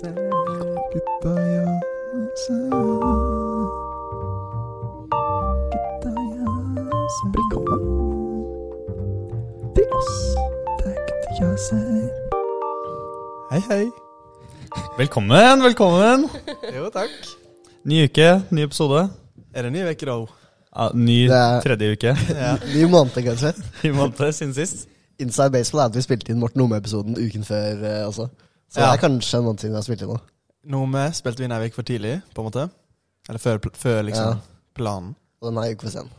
Gutta, ja. Gutta, ja. Velkommen til oss. Takk til oss Hei, hei. Velkommen, velkommen! Jo, takk. Ny uke, ny episode. Er det ny uke, da? Ja, ny Det er- tredje uke Ny måned, kanskje. i måned siden sist. Inside Baseball er at vi spilte inn Morten Omme-episoden uken før eh, også. Så Ja. det er kanskje en måned siden vi har spilt inn nå. Noe med spilte vi inn ei uke for tidlig, på en måte. Eller før, pl- før liksom, Ja. planen. Og den er uke for sen.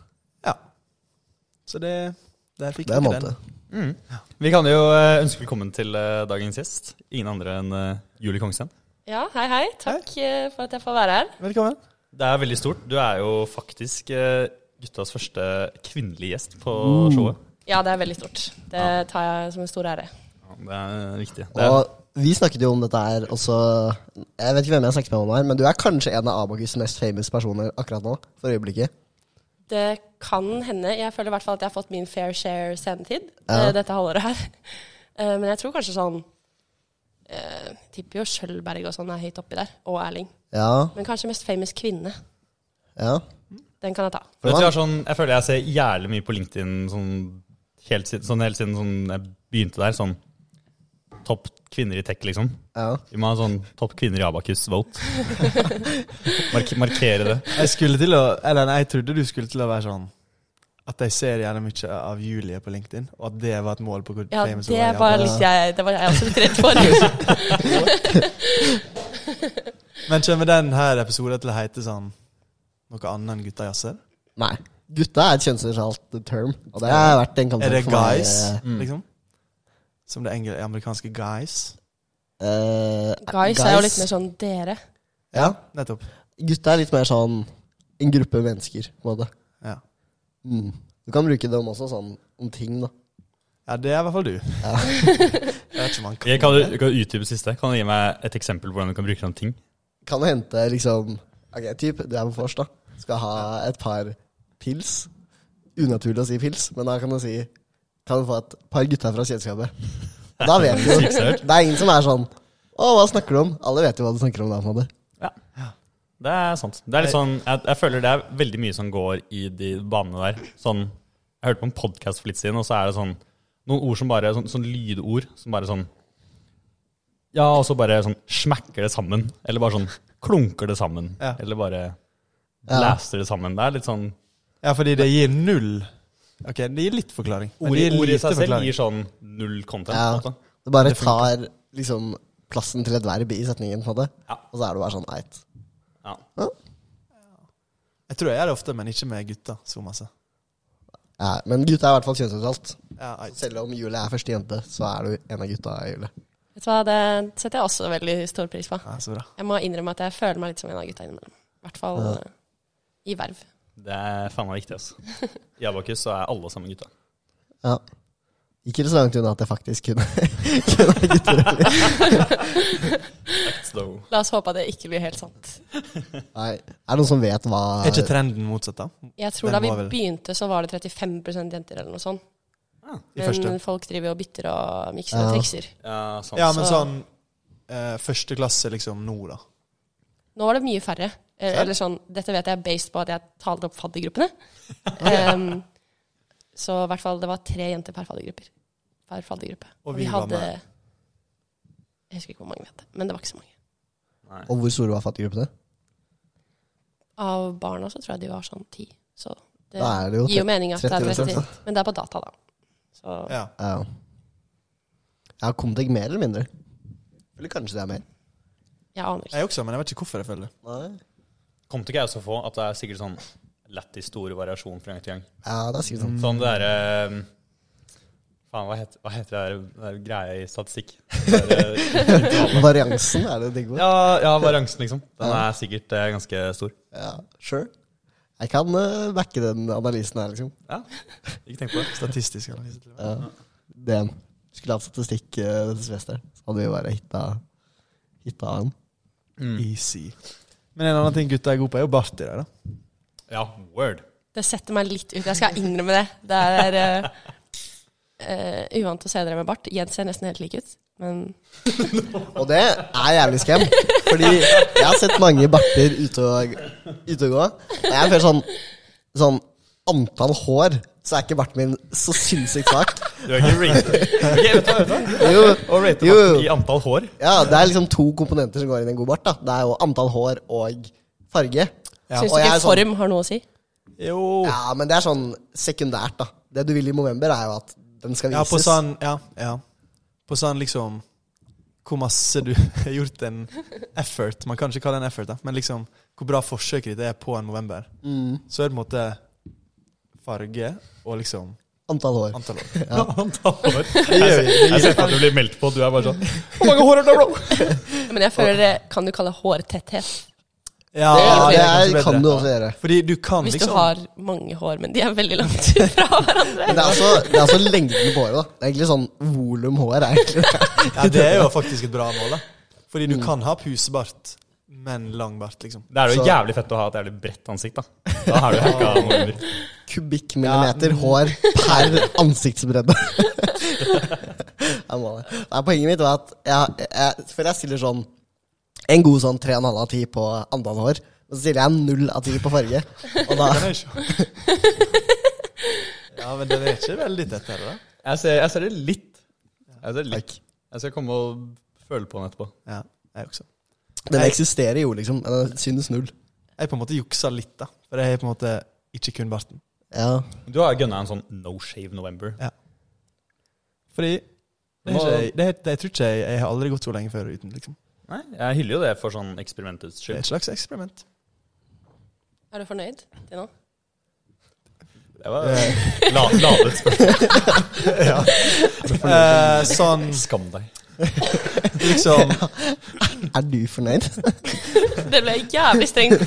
Ja. Så det Der fikk Det er en dere måned. den. Mm. Vi kan jo eh, ønske velkommen til eh, dagens gjest. Ingen andre enn eh, Julie Kongsheim. Ja, hei, hei. Takk eh, for at jeg får være her. Velkommen. Det er veldig stort. Du er jo faktisk eh, guttas første kvinnelige gjest på Mm. showet. Ja, det er veldig stort. Det tar jeg som en stor ære. Ja, det er viktig. Det er, Og vi snakket jo om dette her også Jeg vet ikke hvem jeg snakket med om det her, men du er kanskje en av Abakus mest famous personer akkurat nå. For øyeblikket. Det kan hende. Jeg føler i hvert fall at jeg har fått min fair share sendetid Ja. eh, dette halvåret her. Eh, Men jeg tror kanskje sånn eh, Tipper jo Skjølberg og sånn er høyt oppi der. Og Erling. Ja. Men kanskje mest famous kvinne. ja. Den kan jeg ta. vet du, jeg, er sånn, jeg føler jeg ser jævlig mye på LinkedIn sånn helt siden, sånn, helt siden sånn, jeg begynte der. Sånn topp kvinner i tech, liksom. ja. Vi må ha sånn topp kvinner i Abakus vote. Mark markere det. Jeg skulle til å Eller nei, jeg trodde du skulle til å være sånn at de ser gjerne mye av Julie på LinkedIn, og at det var et mål på hvor Ja, famous det ja. var litt jeg Det var jeg også litt redd for. Men kommer denne episoden til å hete sånn noe annet enn Gutta jazzer? Nei. Gutta er et kjønnsnøytralt term, og det har vært en kamp Er det for meg, guys, eh, Mm. liksom? Som det engel- amerikanske guys? eh, Guys er jo litt mer sånn dere. Ja. Nettopp. Gutta er litt mer sånn en gruppe mennesker, på en måte. Ja, Mm. Du kan bruke dem også sånn om ting, da. ja det er i hvert fall du. jeg vet ikke om han kan Jeg kan, jeg kan utdype siste. Kan du gi meg et eksempel på hvordan du kan bruke den ting? Kan du hente liksom Ok, typ, du er på vors, da. Skal ha et par pils. Unaturlig å si pils, men da kan du si Kan du få et par gutter fra kjøleskapet? Og Da vet du jo Sykt sørt. Det er ingen som er sånn Å, hva snakker du om? Alle vet jo hva du snakker om da, på en måte. Det er sant. Det er litt sånn, jeg, jeg føler det er veldig mye som går i de banene der. Sånn, jeg hørte på en podkast for litt siden, og så er det sånn noen ord som bare, sånn, sånn lydord som bare sånn Ja, og så bare sånn smekker det sammen. Eller bare sånn klunker det sammen. Ja. Eller bare Ja. blaster det sammen. Det er litt sånn Ja, fordi det gir null Ok, det gir litt forklaring. men Ordet det gir ordet i lite seg selv forklaring. gir sånn null content. Ja. på en måte. Det bare tar liksom plassen til et verb i setningen, på en måte. Ja. Og så er det bare sånn eit. Ja. Jeg tror jeg gjør det ofte, men ikke med gutta så masse. Ja, men gutta er i hvert fall kjønnsnøytralt. Ja, nei. Selv om Julie er første jente, så er du en av gutta i Julie. Vet du hva, Det setter jeg også veldig stor pris på. ja, så bra. Jeg må innrømme at jeg føler meg litt som en av gutta innimellom. I hvert fall eh, i verv. Det er faen meg viktig, altså. I Abakus så er alle sammen gutta. Ja. Ikke så langt unna at jeg faktisk kunne, kunne ha gutter. Slow. La oss håpe at det ikke blir helt sant. Nei, er det noen som vet hva Er ikke trenden motsatt, da? Jeg tror Den da vi var vel- begynte, så var det 35 jenter eller noe sånt. I første. Men folk driver og bytter og mikser og Ja. trikser. Ja, sant. Ja, men Så- sånn eh, første klasse, liksom, nå, da. Nå var det mye færre. Eh, Serr? eller sånn, dette vet jeg based på at jeg talte opp faddergruppene. Em, så i hvert fall det var tre jenter per faddergrupper. Per faddergruppe. Og vi var med. Jeg husker ikke hvor mange vi hadde, men det var ikke så mange. Nei. Og hvor store var fattiggruppene? Av barna så tror jeg de var sånn ti. Så det Da er det jo gir jo mening at det er 30%. 30. Men det er på data, da. Så liksom. Ja. Ja. ja, Comtec mer eller mindre? Eller kanskje det er mer? jeg aner ikke. Jeg også, men jeg vet ikke hvorfor jeg føler det. Nei. Kom til ikke jeg så få at det er sikkert sånn lættis stor variasjon fra gang til gang. Ja, det er sikkert sånn. Sånn det derre um, Faen, hva heter, hva heter det der, det der greia i statistikk? Det der, eh, Variansen er det digg ord. ja, ja, variansen, liksom. Den er sikkert eh, ganske stor. Ja, sure. Jeg kan eh, backe den analysen her, liksom. Ja, ikke tenk på det. Statistisk analyse. til og med. Ja. DM. Skulle hatt statistikk eh, dette semesteret, så hadde vi bare hitta, hitta han. Mm. Easy. Men en annen ting gutta er gode på, er jo bart i dag, da. Ja, word. Det setter meg litt ut. Jeg skal innrømme det. Det er eh, eh, uvant til å se dere med bart. Jens ser nesten helt lik ut, men Og det er jævlig skam. Fordi jeg har sett mange barter ute og, ute og gå. Og jeg føler sånn, sånn antall hår, så er ikke barten min så sinnssykt svak. Du er ikke rated Ok, vet du hva, vet du hva? Jo, Og rater jo. barten i antall hår. Ja, det er liksom to komponenter som går inn i en god bart. da Det er jo antall hår og farge. og syns du jeg ikke er sånn- form har noe å si? Jo. Ja, men det er sånn sekundært, da. Det du vil i november, er jo at den skal Ja, vises. på sånn Ja. ja. På sånn liksom Hvor masse du har gjort en effort Man kan ikke kalle det en effort, da, men liksom hvor bra forsøket ditt er på en november. Mm, Så er det på en måte farge og liksom antall hår. antall år. Antall hår. Jeg ser for meg at du blir meldt på, og du er bare sånn Hvor mange hår har du, bro? Men jeg føler det kan du kalle hårtetthet. Ja, det det det er kanskje er, bedre. kan du også gjøre. Fordi du kan Hvis du liksom har mange hår, men de er veldig langt fra hverandre. Men det er også, det er også lengden på håret. da Det er egentlig sånn volum hår. er egentlig det. Ja, det er jo faktisk et bra mål, da. Fordi Mm. du kan ha pusebart, men lang bart, liksom. Det er jo Så- jævlig fett å ha et jævlig bredt ansikt, da. Da har du hacka nummer. kubikkmillimeter hår per ansiktsbredde. jeg må det. Nei, poenget mitt var at jeg, jeg, før jeg stiller sånn en god sånn 3,5 av 10 på antall hår, og så stiller jeg 0 av 10 på farge. Og da, Den er ikke Ja, men den er ikke veldig tett her, da. Jeg ser, jeg ser det litt. Jeg ser det litt. Takk. Jeg skal komme og føle på den etterpå. Ja, jeg også. den eksisterer jo, liksom. men Den synes null. Jeg på en måte juksa litt, da. For jeg har på en måte ikke kun barten. Ja. Du har gønna en sånn No Shave November. Fordi det er ikke, det er, det, jeg tror ikke jeg, jeg har aldri gått så lenge før uten, liksom. Nei, jeg hyller jo det for sånn eksperimentets Det er skyld. et slags eksperiment. Er du fornøyd til nå? Det var la, ladet spørsmål. Eh, sånn Skam deg. liksom, Er du fornøyd? Det ble jævlig strengt.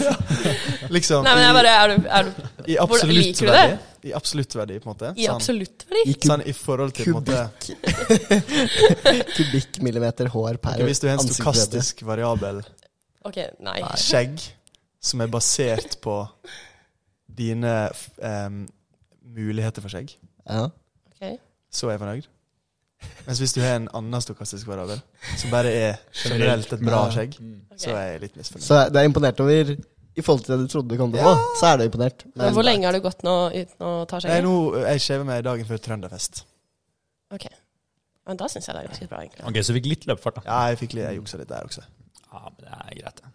liksom Nei, men jeg bare Er du, er du i, i Hvordan absolutt liker du verdi. I absolutt verdi, på en måte. i absolutt verdi? I Sånn, sånn i forhold til på en måte kubikk kubikkmillimeter hår per Ok, Hvis du har en ansiktsbredde. stokastisk variabel Ok, nei. skjegg som er basert på dine f- em, muligheter for skjegg, Ja. Ok. så er jeg fornøyd. Mens hvis du har en annen stokastisk variabel som bare er generelt et bra skjegg, Mm. ok. så er jeg litt misfornøyd. Så du er imponert over I forhold til det du trodde du kom til å få, så er du imponert. Men hvor lenge har du gått nå uten å ta Nei, skjegget? nå, jeg skjever meg dagen før Trønderfest. Ok. Men da syns jeg det er ganske bra, egentlig. Ok, så vi fikk litt løpefart, da. Ja, jeg fikk litt, jeg juksa litt der også. Ja, men det er greit, det.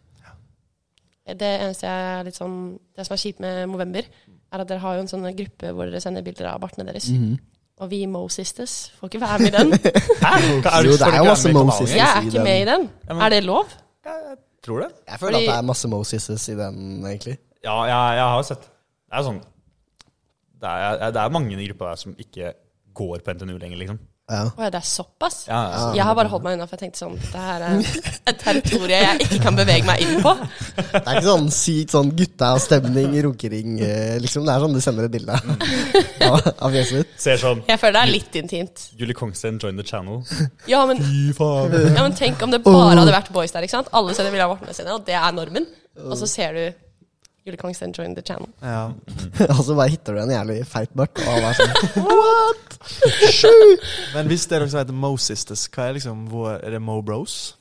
Det eneste jeg er litt sånn Det som er kjipt med Movember, er at dere har jo en sånn gruppe hvor dere sender bilder av bartene deres. Og vi Mo Sisters får ikke være med i den. Hæ? Hva Jo, det er jo masse Moses. Jeg er ikke med i den. Ja, men- Er det lov? Tror du det? Jeg føler at Fordi- det er masse Moseses i den, egentlig. Ja, jeg, jeg har sett Det er sånn Det er, jeg- det er mange i den gruppa der som ikke går på NTNU lenger, liksom. Ja. Å ja, det er såpass? Ja, ja. Jeg har bare holdt meg unna, for jeg tenkte sånn Det her er et territorium jeg ikke kan bevege meg inn på. Det er ikke sånn sykt sånn gutta-stemning, runkering, eh, liksom. Det er sånn du sender et bilde av av fjeset ditt. Ser sånn Jeg føler det er litt intimt. Julie Kongsten, join the channel. Ja, men, ja, men tenk om det bare hadde vært boys der, ikke sant? Alle sender bilder av bartene sine, og det er normen. Og så ser du Julie Kongsten join the channel. Ja. Og så bare hitter du en jævlig feit bart. Og han er sånn Men hvis det er noe som heter Mo Sisters, hva er liksom vår Er det Mo Bros?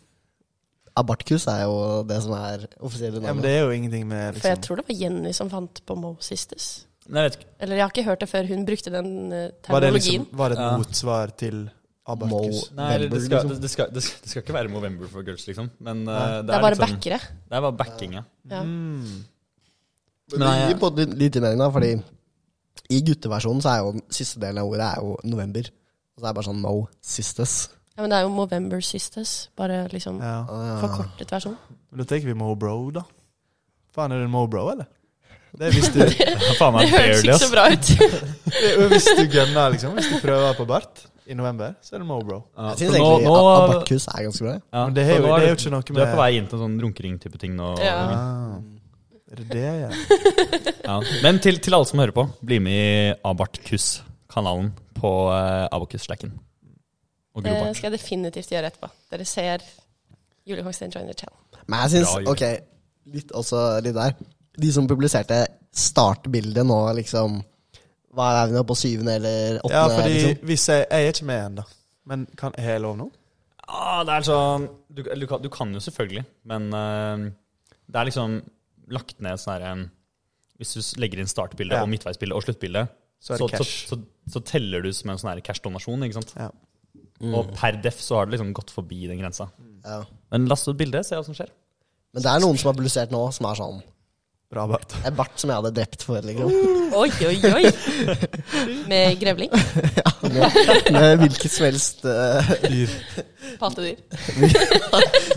Abartkus er jo det som er offisielle Ja, men navnet. det er jo ingenting med For jeg liksom tror det var Jenny som fant på Mo Sisters. Nei, jeg vet ikke. Eller jeg har ikke hørt det før hun brukte den eh, Var det, terminologien. liksom, var det et Ja. motsvar til Abarkus? Mo. Nei, det, November, skal, liksom. det, det, skal, det, skal, det skal ikke være Movember for girls, liksom. Men eh, Nei. Det er bare litt sånn- backere. Det er bare backing, ja. Ja. Mm. Men det gir på en måte litt mening, da, fordi i gutteversjonen så er jo den siste delen av ordet er jo november. Og så er det bare sånn Mo Sisters. ja, men det er jo Movember Sisters. Bare liksom Ja. forkortet versjon. Men da tenker vi Mo Bro, da. Faen, er det en Mo Bro, eller? Det er hvis du, Ja, faen meg Det høres barely, ikke ass. så bra ut. hvis du gønner, liksom. Hvis du prøver på bart i november, så er det Mo Bro. Ja, for Jeg syns nå, egentlig nå, a- Abartkus er ganske bra. ja, Men det er for jo, nå det er er jo ikke noe du med er på vei inn til sånn runkering-type ting nå. Ja. Ah. Er det det jeg gjør? Ja. Men til, til alle som hører på, bli med i Abartkus-kanalen på eh, Abokus-slacken. Og Det Grobart. Eh, skal jeg definitivt gjøre etterpå. Dere ser Julie Kongsten join the channel. Men jeg syns, Bra, Julie. ok, litt også litt der De som publiserte startbildet nå, liksom Hva er vi nå på syvende eller åttende? Ja, fordi liksom? hvis jeg, jeg er ikke med ennå. Men kan, har jeg lov nå? Ah, det er sånn du, du, kan, du kan jo selvfølgelig, men eh, det er liksom lagt ned sånn her en- Hvis du s- legger inn startbilde Ja. og midtveisbilde og sluttbilde, Så er det så, cash. så, så teller du som en sånn her cash-donasjon. ikke sant? Ja. Og per def så har du liksom gått forbi den grensa. ja. Mm. Men last ut bilde, se hva som skjer. Men det er noen som har blusert nå, som er sånn Bra, Bart. En bart som jeg hadde drept for, liksom. Oi, oi, oi! Med grevling. Med, med hvilket som helst eh, Dyr. Pattedyr.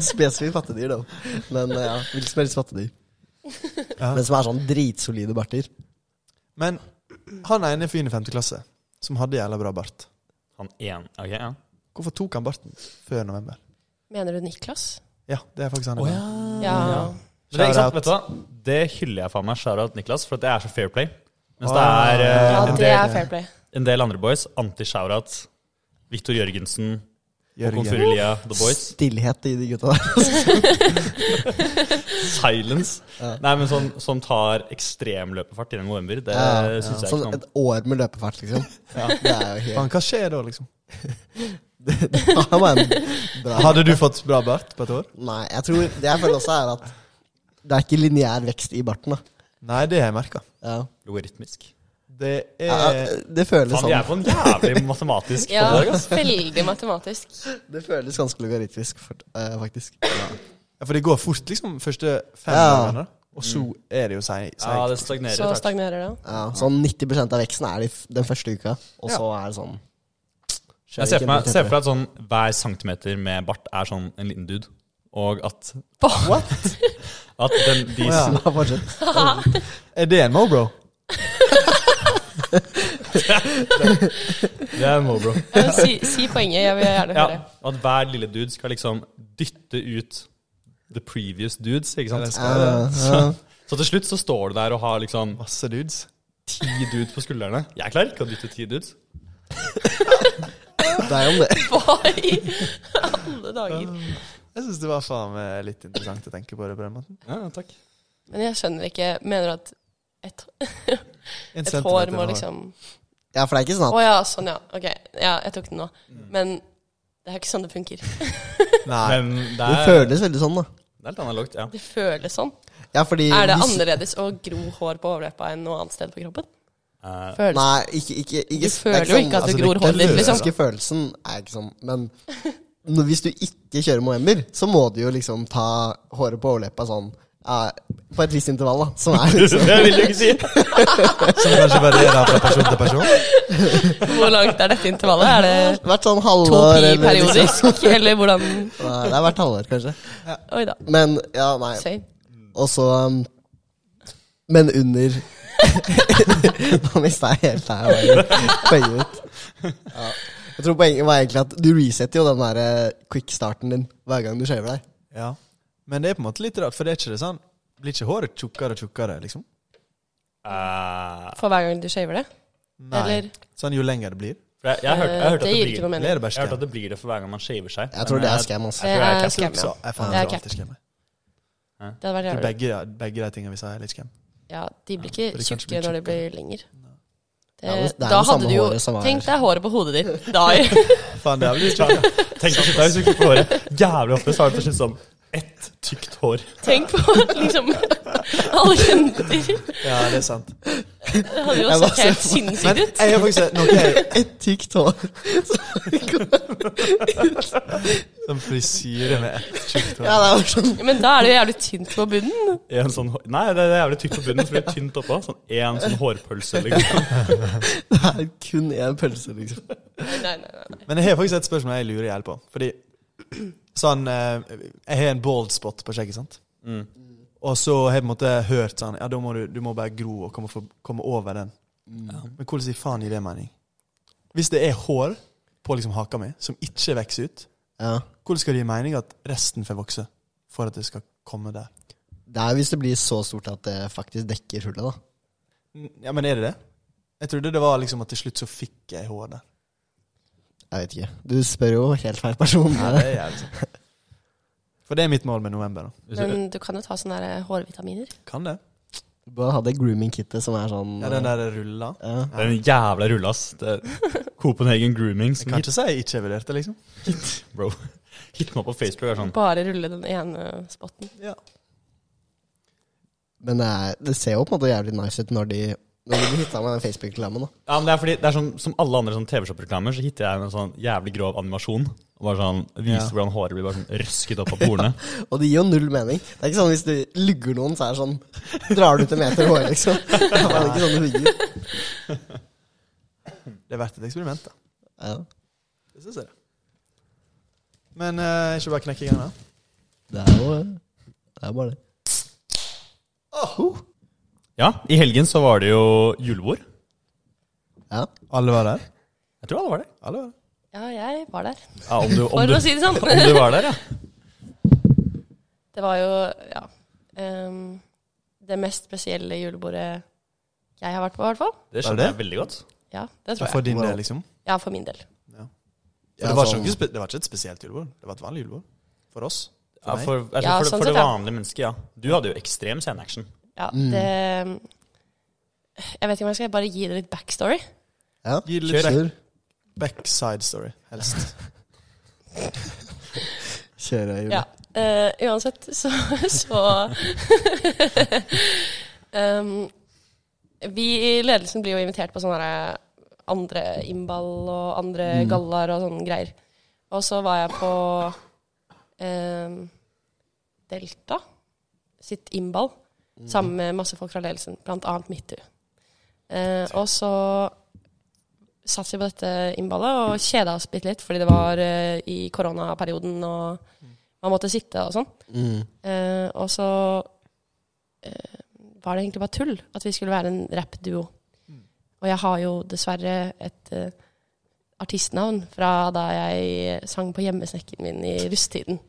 spesifikt pattedyr, da. Men eh, ja, hvilket som helst pattedyr. Ja. Men som er sånn dritsolide barter. Men han ene fyren i femte klasse som hadde jævla bra bart, Han en, ok, ja. hvorfor tok han barten før november? Mener du Niklas? Ja, det er faktisk han. jeg mener. Ja. Men det, er ikke sant, Shout vet du hva? det hyller jeg faen meg, shout-out Niklas, for at det er så fair play. Mens det Ah. er eh, ja, en, det del, er fair play. en del andre boys, anti-shout-out, Viktor Jørgensen, Håkon Jørgen. Furulia, The Boys. Stillhet i de gutta der. Silence. Nei, men sånn, som tar ekstrem løpefart innen november, det Ja, synes syns jeg Sånn ikke noe om. et år med løpefart, liksom. Det er jo helt Faen, hva skjer da, liksom? Det var en bra Hadde du fått bra bart på et år? Nei, jeg tror Det jeg føler også, er at det er ikke lineær vekst i barten, da. Nei, det har jeg merka. Ja. Logaritmisk. Det Ja, er det føles Faen, vi sånn. er på en jævlig matematisk Ja, ja. dag, ass. veldig matematisk. sånn- Det føles ganske logaritmisk, for, eh, faktisk. Ja, for det går fort, liksom. Første fem Ja. dagene. Og så er det jo seig. Mm. Ja, seig. det stagnerer. Så etter hvert. stagnerer det. Ja, sånn 90 av veksten er de f- den første uka, og så er det sånn Jeg ser for meg, ser for meg at sånn, hver centimeter med bart er sånn en liten dude. Og at, What? at den, de Å, ja. som- Fortsett. Er det en mo-bro? Det er mo, bro. Ja, men Eh, Si, si poenget, jeg vil gjerne Ja, høre. at hver lille dude skal liksom dytte ut the previous dudes, ikke sant? Ja, Ja, ja. Så til slutt så står du der og har liksom Masse dudes. ti dudes på skuldrene. Jeg klarer ikke å dytte ti dudes. Det er jo om det. Hva i alle dager? Um, Jeg syns det var faen meg litt interessant å tenke på det på den måten. Ja, takk. Men jeg skjønner ikke Mener du at et, En et centimeter hår må har- liksom Ja, for det er ikke sånn Å at ja, sånn ja. Ok, ja, jeg tok den nå. Men det er jo ikke sånn det funker. Nei. Men det Det er, føles veldig sånn, da. det er litt analogt, ja. Det føles sånn. Ja, fordi Er det hvis- annerledes å gro hår på overleppa enn noe annet sted på kroppen? Eh, Føles. Nei, ikke, ikke, ikke sånn- Du føler jo ikke at altså, du det gror kan håret ditt, gjøre liksom. Ganske følelsen er ikke sånn, men når, hvis du ikke kjører Moember, så må du jo liksom ta håret på overleppa sånn ja, på et visst intervall, da. Som er liksom det vil du ikke si. Som kanskje varierer fra person til person? Hvor langt er dette intervallet? Er det Hvert sånn to halvår pi eller liksom- periodisk? Eller hvordan Nei, det er hvert halvår, kanskje. Oi da. Men ja, nei. Same. Og så um, Men under Nå mista jeg helt det her poenget mitt. Ja. Jeg tror poenget var egentlig at du resetter jo den der eh, quick-starten din hver gang du shaver deg. Ja. Men det er på en måte litt rart, for det er ikke det sånn Blir ikke håret tjukkere og tjukkere, liksom? Eh, For hver gang du shaver det? Eller Sånn jo lenger det blir. for jeg, jeg, hørte, jeg, hørte at Det det gir blir, ikke noe mening. Det er det jeg hørte beste. at det blir det for hver gang man shaver seg. Jeg Men eh, tror det er jeg- scam, altså. Det tror jeg er er cap. scam, ja. Så jeg faen Det er tror cap. alltid skjemmer. Det hadde vært Jeg tror jævlig. Begge, begge de tingene vi sa, er litt skjem. Ja, de blir ikke for de kanskje tjukkere blir når de blir lenger. Det, Ja, men det er det da samme hadde du jo håret som er- Tenk deg håret på hodet ditt. Da Faen, det er vel litt tjukkere. Tenk å slutte hvis du klipper håret. Jævlig ofte så har du til slutt sånn ett tykt hår. Tenk på liksom alle jenter. Ja, det er sant. Det hadde jo Jeg bare sett helt ser for Men sinnssykt ut. jeg har faktisk noe jeg Et tykt hår. Som Sånn frisyre med ett tjukt hår. Ja, det er jo sånn Men da er det jo jævlig tynt på bunnen. En sånn, hår- nei, det er jævlig tykt på bunnen, så blir det tynt oppå. Sånn en sånn hårpølse. Liksom. Det er kun én pølse, liksom. Nei, nei, nei, nei. Men jeg har faktisk et spørsmål jeg lurer i hjel på. Fordi sånn eh, Jeg har en bald spot på skjegget, sant? Mm. Og så har jeg på en måte hørt sånn Ja, da må du, du må bare gro og komme, for, komme over den. Men hvordan i faen gir det mening? Hvis det er hår på liksom haka mi som ikke vokser ut, Ja. hvordan skal det gi mening at resten får vokse? For at det skal komme der. Det er hvis det blir så stort at det faktisk dekker hullet, da. Mm, Ja, men er det det? Jeg trodde det var liksom at til slutt så fikk jeg hår der. Jeg vet ikke. Du spør jo helt feil person. er jævlig sant. For det er mitt mål med november. da. sånn. Hvis du- Men du kan jo ta sånne der hårvitaminer. Kan det. Du bør ha det grooming-kittet som er sånn Ja, den der rulla. ja. Det er en jævla rulle, ass. Det er Copenhagen Grooming. Jeg Som kan hit, ikke si jeg ikke vurderte, liksom. bro. Hit meg på Facebook og er sånn Bare rulle den ene spotten. Ja. Men det, er, det ser jo på en måte jævlig nice ut når de Når de blir hitta med den Facebook-reklamen. da Ja, men det er fordi det er sånn, Som alle andre sånn TV-shop-reklamer så hitter jeg en sånn jævlig grov animasjon. Og bare sånn, Viser Ja. hvordan håret blir bare sånn røsket opp av porene. Og det gir jo null mening. Det er ikke sånn hvis du lugger noen, så er det sånn Drar du ut en meter hår, liksom. Det er ikke sånn du ligger. Det er verdt et eksperiment, da. Ja, Det syns jeg. det. Men eh, ikke bare knekke igjen, da. det er jo Det er bare det. Ja, I helgen så var det jo julebord. Ja. Alle var der? Jeg tror alle var det. Alle var der. Ja, jeg var der. Ja, om du, om For du, å si det sånn. om du var der, ja. Det var jo ja, ehm, det mest spesielle julebordet jeg har vært på, i hvert fall. Det Var skjønner det? jeg veldig godt. Ja, det tror For jeg. din del, liksom? Ja, for min del. Ja. altså- Ja, For det, var sånn- ikke noe spe det var ikke et spesielt julebord. Det var et vanlig julebord. For oss. For Ja, meg. for, jeg tror Ja, for, det- sånn for sett, det ja. vanlige mennesket, ja. Du hadde jo ekstrem sceneaction. Ja, det ehm, Jeg vet ikke om jeg skal bare gi det litt backstory. ja. Gi det litt Kjør. back, Kjør, backside story, helst. Kjør Øyvind. Ja. eh, uansett, så, så um, Vi i ledelsen blir jo invitert på sånne her eh, andre innball og andre gallaer og sånne greier. Og så var jeg på eh, Delta sitt innball sammen med masse folk fra ledelsen, blant annet Midtu. Eh, og så satt vi på dette innballet og kjeda oss bitte litt, fordi det var eh, i koronaperioden og man måtte sitte og sånn. Mm. Eh, og så eh, var det egentlig bare tull at vi skulle være en rappduo. Og jeg har jo dessverre et eh, artistnavn fra da jeg sang på hjemmesnekken min i rusttiden.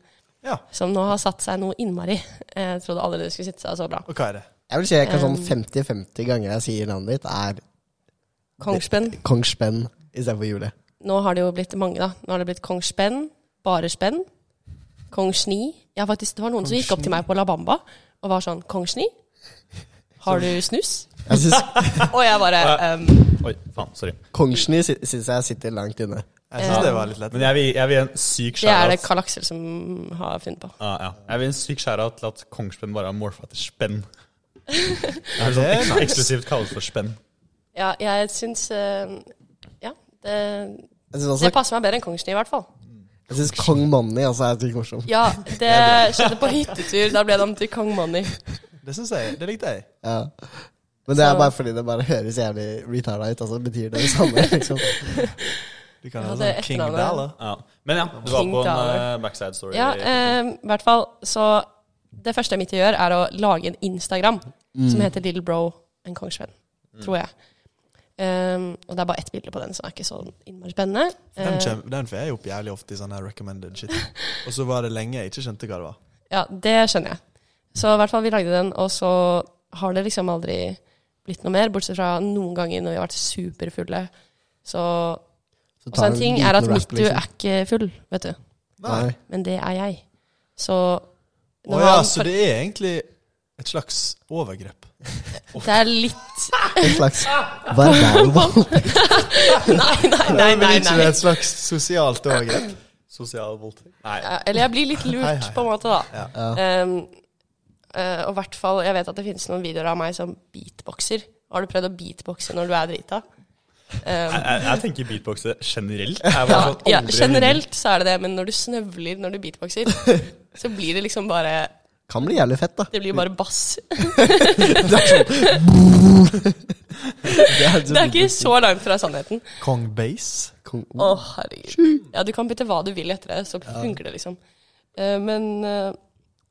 Ja. Som nå har satt seg noe innmari. Eh, Jeg trodde aldri det skulle sitte seg så bra. Og hva er det? Jeg vil si jeg kan sånn Um. 50-50 ganger jeg sier navnet ditt, er Kongspenn. Kongspenn istedenfor Jule. Nå har det jo blitt mange, da. Nå har det blitt Kong Spenn, Bare Spenn, Kong Sni. Ja, faktisk, det var noen som gikk opp til meg på La Bamba og var sånn Kong Sni? Har du snus? Jeg syns Og jeg bare ehm, Oi, faen, sorry. Kongsny sy- syns jeg sitter langt inne. Jeg syns det var litt lett. Men jeg vil, jeg vil gi en syk Det er det skjæra Karl Aksel som har funnet på. ja, ja. Jeg vil gi en syk shout-out til at Kongspenn bare har morfa til spenn. Det er Det sånn er eks nice. eksklusivt kalles for spenn. Ja, jeg syns eh, Ja, det, Jeg syns det også passer meg bedre enn Kongsny, i hvert fall. jeg synes Kong Money også er litt morsom. Ja, det skjedde på hyttetur. Da ble det om til Kong Money. Det syns jeg. Det likte jeg. Ja. Men det er Så- bare fordi det bare høres jævlig retarda ut, og så betyr det det samme. liksom. Du kan Ja, ha det sånn er King etternavnet. Dala. Ja. Men ja, du var King på en Dollar. eh, backside story. Ja, eh, i hvert fall så Det første mitt gjør, er å lage en Instagram som heter Little Bro and Kongsvenn. Tror jeg. Ehm, og det er bare ett bilde på den, så det er ikke så innmari spennende. Den, Eh, kjem, den får jeg opp jævlig ofte i sånne her recommended shit. Og så var det lenge jeg ikke skjønte hva det var. Ja, det skjønner jeg. Så i hvert fall vi lagde den, og så har det liksom aldri blitt noe mer, bortsett fra noen ganger når vi har vært superfulle. Så Så også tar en du ting liten er at rap, Mittu liksom. er ikke full, vet du. Nei. Men det er jeg. Så Å når ja, han- så det er egentlig et slags overgrep. det er litt En slags verbalvold. Nei, nei, nei. nei, Men ikke det nei. er et slags sosialt overgrep. Sosial voldtekt. Nei. Ja, Eller jeg blir litt Hei, hei. lurt, på en måte, da. Ja. Ehm, eh, og i hvert fall, jeg vet at det finnes noen videoer av meg som beatboxer. Har du prøvd å beatboxe når du er drita? Um, Jeg, jeg, jeg tenker beatboxere generelt. Jeg Ja, var sånn ja, aldri- generelt så er det det, men når du snøvler når du beatboxer, så blir det liksom bare Kan bli jævlig fett, da. Det blir bare bass. Det sånn. er, Det er ikke så langt fra sannheten. Kong Base. Kong- Å, herregud. Ja, du kan bytte hva du vil etter det, så funker det liksom. Eh, Men eh,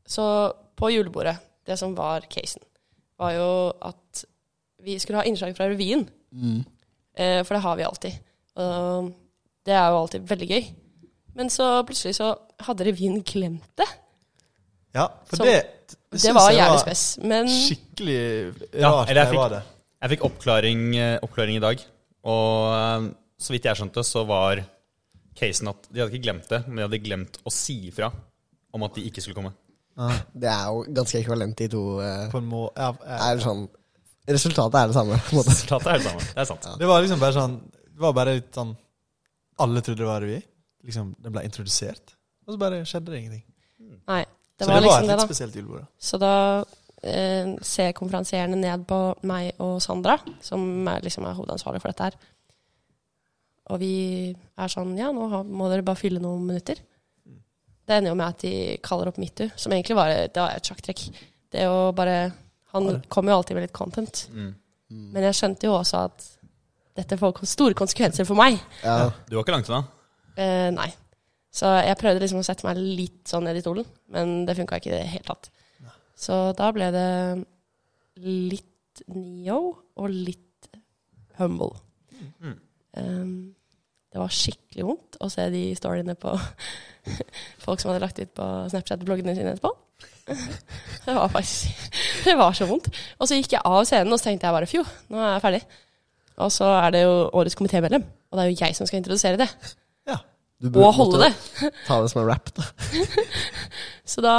så på julebordet, det som var casen, var jo at vi skulle ha innslag fra revyen. Eh, For det har vi alltid. Og det er jo alltid veldig gøy. Men så plutselig så hadde revyen glemt det. Ja, for Så- det Det, syns var jeg jævlig spes. Men Skikkelig Ja, rart. eller jeg det var fikk- det. Jeg fikk oppklaring, eh, oppklaring i dag, og eh, så vidt jeg skjønte, så var casen at de hadde ikke glemt det, men de hadde glemt å si ifra om at de ikke skulle komme. Ah, Det er jo ganske ekvivalent de to. eh, på en må ja, ja. er sånn, resultatet er det samme. På en måte. Resultatet er det samme. Det er sant. Det var liksom bare sånn Det var bare litt sånn Alle trodde det var revy. Liksom, det ble introdusert, og så bare skjedde det ingenting. Mm. Nei. Det så var det var et liksom det, litt da. spesielt julebord. da. Så da eh, ser konferansierende ned på meg og Sandra, som er, liksom er hovedansvarlig for dette her. Og vi er sånn Ja, nå har- må dere bare fylle noen minutter. Det ender jo med at de kaller opp Mitu, som egentlig var, det var et sjakktrekk. Det å bare Han kom jo alltid med litt content. Mm. Men jeg skjønte jo også at dette får kon- store konsekvenser for meg. Ja. Du var ikke langt unna. Eh, nei. Så jeg prøvde liksom å sette meg litt sånn ned i stolen, men det funka ikke i det hele tatt. Så da ble det litt Neo og litt Humble. Mm. Um, det var skikkelig vondt å se de storyene på folk som hadde lagt ut på Snapchat-bloggene sine etterpå. Det var faktisk Det var så vondt. Og så gikk jeg av scenen og så tenkte jeg bare fjo, nå er jeg ferdig. Og så er det jo årets komitémedlem, og det er jo jeg som skal introdusere det. Du Og burde- holde måtte det. Ta det som en rap, da. Så da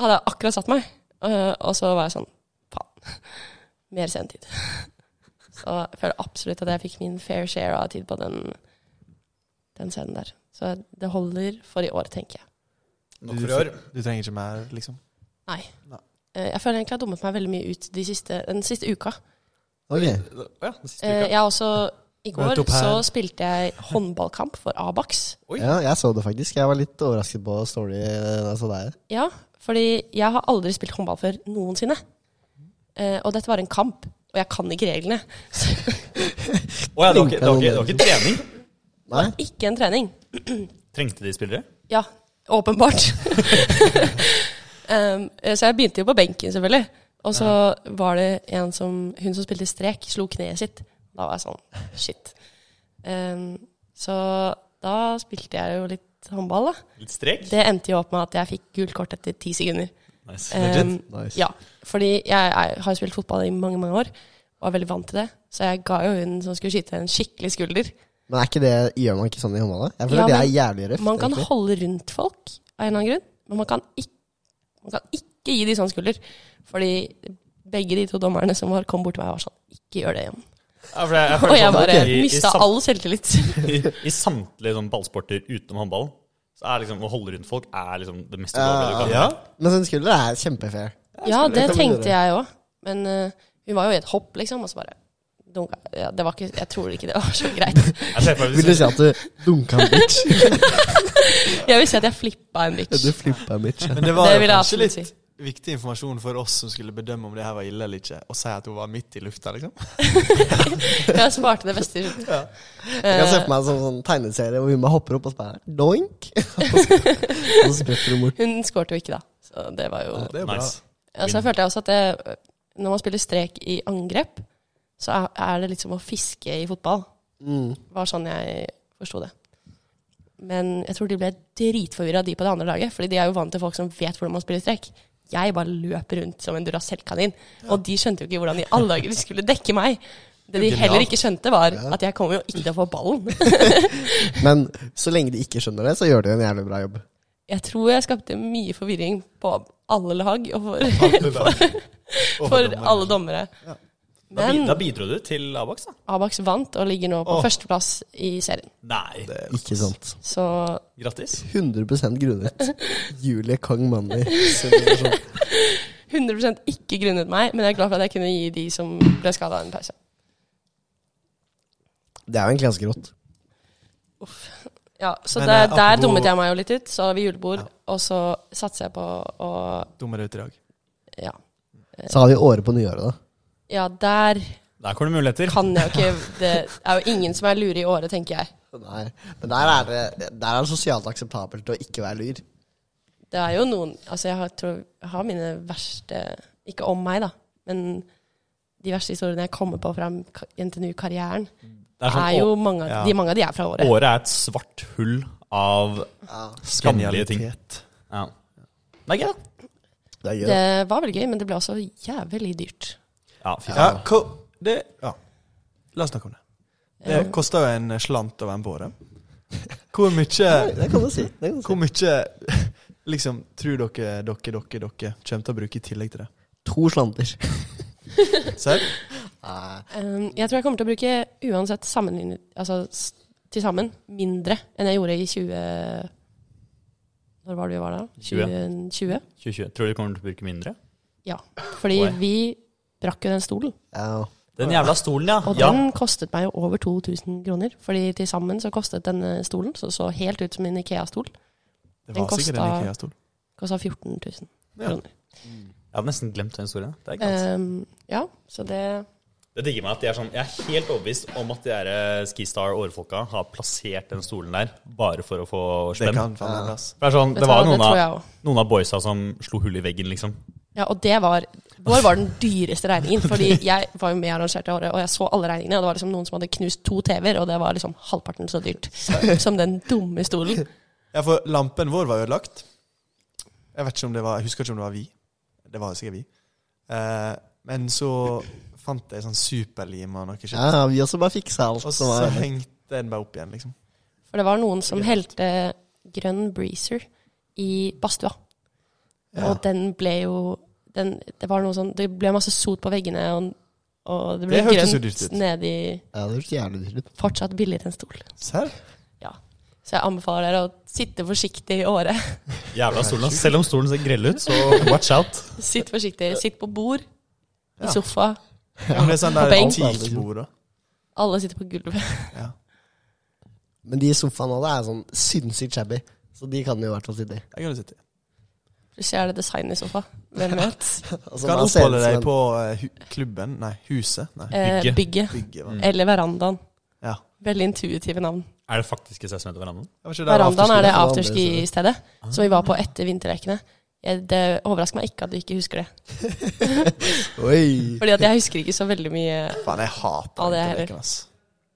hadde jeg akkurat satt meg, øh, og så var jeg sånn Faen. Mer sendetid. Så jeg føler absolutt at jeg fikk min fair share av tid på den, den scenen der. Så det holder for i år, tenker jeg. Nok for i år. Du trenger ikke mer, liksom. Nei. Nei. Eh, Jeg føler egentlig jeg har dummet meg veldig mye ut de siste, den siste uka. Ok. Ja, den siste uka. Eh, Jeg har også I går Møte opp her. så spilte jeg håndballkamp for Abax. Oi. Ja, jeg så det faktisk. Jeg var litt overrasket på story eh, altså da jeg så deg. Ja, fordi jeg har aldri spilt håndball før noensinne. Eh, og dette var en kamp, og jeg kan ikke reglene. Så Å ja, det var ikke, det var ikke, det var ikke trening. Nei? ikke en trening. Trengte de spillere? Ja, åpenbart. um, eh, så jeg begynte jo på benken, selvfølgelig. Og så var det en som Hun som spilte strek, slo kneet sitt. Da var jeg sånn shit. Um, så da spilte jeg jo litt håndball, da. Litt strek? Det endte jo opp med at jeg fikk gult kort etter ti sekunder. Nice. Um, Nice. ja, fordi jeg er, har spilt fotball i mange, mange år og er veldig vant til det. Så jeg ga jo hun som skulle skyte, en skikkelig skulder. Men er ikke det, gjør man ikke sånn i håndballet? Jeg føler Ja, det men er jævlig røft. Man kan egentlig. holde rundt folk av en eller annen grunn, men man kan ikke, man kan ikke gi de sånn skulder. Fordi begge de to dommerne som var, kom bort til meg og var sånn Ikke gjør det igjen. Ja, for jeg, jeg føler Og jeg sånn bare at i- i mista sam- all selvtillit. I, i samtlige sånn ballsporter utenom håndball så er liksom å holde rundt folk er liksom det mest ulovlige du kan. Ja? Men sånn skulder er kjempefair. Ja, det det kan man tenkte jeg òg. Men eh, hun var jo i et hopp, liksom, og så bare dunka. Ja, det var ikke, jeg tror ikke det var så greit. Jeg ser for meg Vil du hvis si at du dunka en bitch? Jeg vil si at jeg flippa en bitch. Du flippa en bitch. Men det var Det jo vil jeg kanskje absolutt litt viktig informasjon for oss som skulle bedømme om det her var ille eller ikke, å si at hun var midt i lufta, liksom. Jeg sparte det beste i Jeg slutten. kan se Eh, for meg en sånn, sånn tegneserie hvor hun bare hopper opp og så bare doink. Og så spretter hun bort. Hun skårte jo ikke, da. Så det var jo Det er bra. Nice. Altså, jeg følte jeg også at det, når man spiller strek i angrep, så er- er det liksom å fiske i fotball. Mm. Var sånn jeg forsto det. Men jeg tror de ble dritforvirra, de på det andre laget. Fordi de er jo vant til folk som vet hvordan man spiller strek. Jeg bare løp rundt som en Duracell-kanin. Og de skjønte jo ikke hvordan i alle dager de skulle dekke meg. Det de heller ikke skjønte, var at jeg kommer jo ikke til å få ballen. Men så lenge de ikke skjønner det, så gjør de en jævlig bra jobb. Jeg tror jeg skapte mye forvirring på alle lag, og for, Og for dommerne. alle dommere. Da, bi- da bidro du til Abax, da. Abax vant og ligger nå på førsteplass i serien. Nei, Ikke altså sant. Så grattis. 100 grunnet. Julie Kong Manni. 100 ikke grunnet meg, men jeg er glad for at jeg kunne gi de som ble skada, en pause. Det er jo egentlig ganske rått. Ja, Så Men, det, eh, der apropos- dummet jeg meg jo litt ut. Så har vi julebord, og så satser jeg på å Dummer ut i dag. ja. Så har vi året på nyåret, da. ja, der Der kommer det muligheter. kan jeg jo ikke Det er jo ingen som er lure i året, tenker jeg. Nei, men der er det, der er det sosialt akseptabelt å ikke være lur. Det er jo noen Altså, jeg har, tror jeg har mine verste Ikke om meg, da, men de verste historiene jeg kommer på fra NTNU-karrieren, Det er er sånn, jo mange av ja. de, mange av de er fra å, året. året er et svart hull av skammelige ting. Genialitet. Ja. Det er gøy, da. Det er gøy. da. Det var veldig gøy, men det ble også jævlig dyrt. Ja, fy faen. Ja, hva, det, ja. La oss snakke om det. Det koster jo en slant å være med på det. Hvor mye Det kan du si. Det kan du si. Hvor mye liksom, tror dere dere, dere, dere kommer til å bruke i tillegg til det? To slanter. Serr? Um, jeg tror jeg kommer til å bruke uansett sammenlignet Altså s- til sammen mindre enn jeg gjorde i 20 Når var det vi var da? 20. 2020? 2020. Tror du du kommer til å bruke mindre? Ja. Fordi Why? vi brakk jo den stolen. Ja. Den jævla stolen, ja. Og ja. den kostet meg jo over 2000 kroner. Fordi til sammen så kostet denne stolen, som så helt ut som en Ikea-stol, Det Den var sikkert en kosta- Ikea-stol. kosta 14 000 Ja. kroner. Jeg hadde nesten glemt den historien. Det er ikke sant. Um, ja, så det Det digger meg at de er sånn Jeg er helt overbevist om at de der eh, Skistar-årfolka har plassert den stolen der bare for å få Det spenn. kan faen meg plass. For det, er sånn, Vet det du hva, var jo det noen, tror av- jeg også. noen av boysa som slo hull i veggen, liksom. Ja, og det var Vår var den dyreste regningen, fordi jeg var jo med og arrangerte året, og jeg så alle regningene, og det var liksom noen som hadde knust to TV-er, og det var liksom halvparten så dyrt som den dumme stolen. Ja, for lampen vår var ødelagt. Jeg vet ikke om det var Jeg husker ikke om det var vi. Det var sikkert vi. Eh, men så fant jeg sånn superlim og noe ja, shit. vi også bare fiksa alt Og som så var hengte jeg den bare opp igjen, liksom. For det var noen som helte grønn breezer i badstua, Ja. og den ble jo den, det, var noe sånn, det ble masse sot på veggene, og, og det ble Det hørtes jo dyrt ut. grønt nedi Ja, det hørtes jævlig dyrt ut. Fortsatt billigere enn stol. Serr? Ja. Så jeg anbefaler dere å sitte forsiktig i året. Jævla stolen. ass. Selv om stolen ser grell ut, så watch out. Sitt forsiktig. Sitt på bord, Ja. i sofa. Ja, men det er sånn Og der benk. liksom. antikkbord, da. Alle sitter på gulvet. Ja. Men de sofaene der er sånn sinnssykt shabby, så de kan jo i hvert fall sitte i. Jeg kan jo sitte i. Plutselig er det design i sofa. Hvem vet? Altså, Kan man ser oppholde ut som deg en- på eh, hu klubben Nei, huset. Nei, Eh, Bygget. bygget. bygget. Mm. hva? Eller verandaen. Ja. Veldig intuitive navn. Er det faktisk et sesjon etter hverandre? Jeg vet ikke, der Verandaen er det afterski. afterski-stedet som vi var på etter vinterlekene. Jeg- Det overrasker meg ikke at du ikke husker det. Oi! Fordi at jeg husker ikke så veldig mye Faen, jeg Ja, hater det er vinterleken, ass.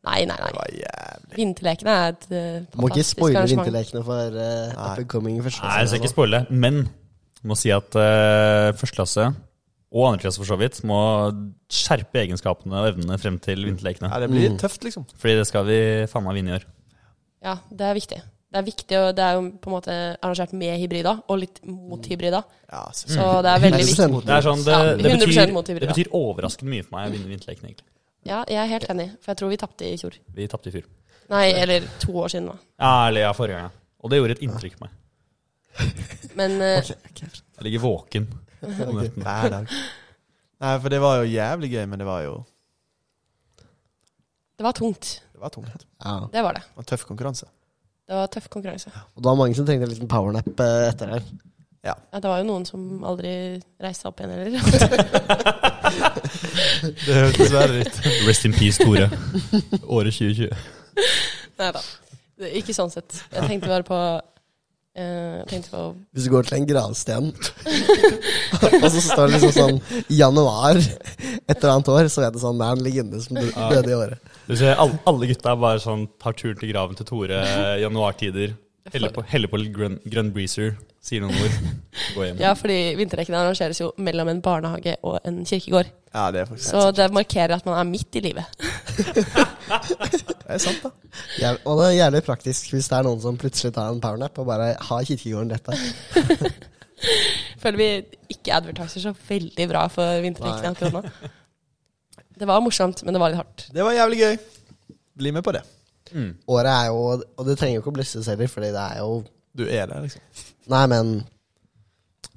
Nei, nei, Det nei. var jævlig Vinterlekene er et eh, Må ikke fantastisk spoile arrangement. vinterlekene for uh, Nei. up and coming første Nei, jeg skal sesong. ikke spoile, men jeg må si at eh, førsteklasse og andreklasse for så vidt må skjerpe egenskapene og evnene frem til vinterlekene. Ja, det blir tøft, liksom. Fordi det skal vi faen meg vinne i år. Ja, det er viktig. Det er viktig, og det er jo på en måte arrangert med hybrida, og litt mot hybrida. Ja, så- Så det er veldig viktig. 100% Det, er sånn, det, Ja, det, 100% betyr, mot hybrida. det betyr overraskende mye for meg å vinne vinterlekene, egentlig. Ja, jeg er helt enig, for jeg tror vi tapte i fjor. Vi tapte i fjor. Nei, eller to år siden, da. Ja, eller ja, forrige gang. ja. Og det gjorde et inntrykk på meg. Men eh, Jeg ligger våken. om Mm. nettene. Hver dag. Nei, for det var jo jævlig gøy, men det var jo det var tungt. Det var tungt. Det Ja. Det var det. var en tøff konkurranse. Det var tøff konkurranse. Og det var mange som trengte en liten powernap eh, etter det. Ja, det var jo noen som aldri reiste seg opp igjen heller. Det hørtes verre ut. Rest in peace, Tore. Året 2020. Nei da. Ikke sånn sett. Jeg tenkte bare på eh, Jeg tenkte på Hvis du går til en gravsten, og så står det liksom sånn i januar et eller annet år, så er det sånn Det er en legende som dø- døde i året. Du ser, alle, alle gutta bare sånn tar turen til graven til Tore i januartider. Heller på, heller på litt grønn, grønn breezer, sier noen ord. Gå hjem. Ja, fordi vinterlekene arrangeres jo mellom en barnehage og en kirkegård. Ja, det er faktisk Så det markerer at man er midt i livet. Det er sant, da. Jæv- Og det er jævlig praktisk hvis det er noen som plutselig tar en powernap og bare har kirkegården rett der. Føler vi ikke advertiser så veldig bra for vinterlekene akkurat nå. Det var morsomt, men det var litt hardt. Det var jævlig gøy. Bli med på det. Mm. Året er jo Og det trenger jo ikke å blusses heller, fordi det er jo Du er der, liksom. Nei, men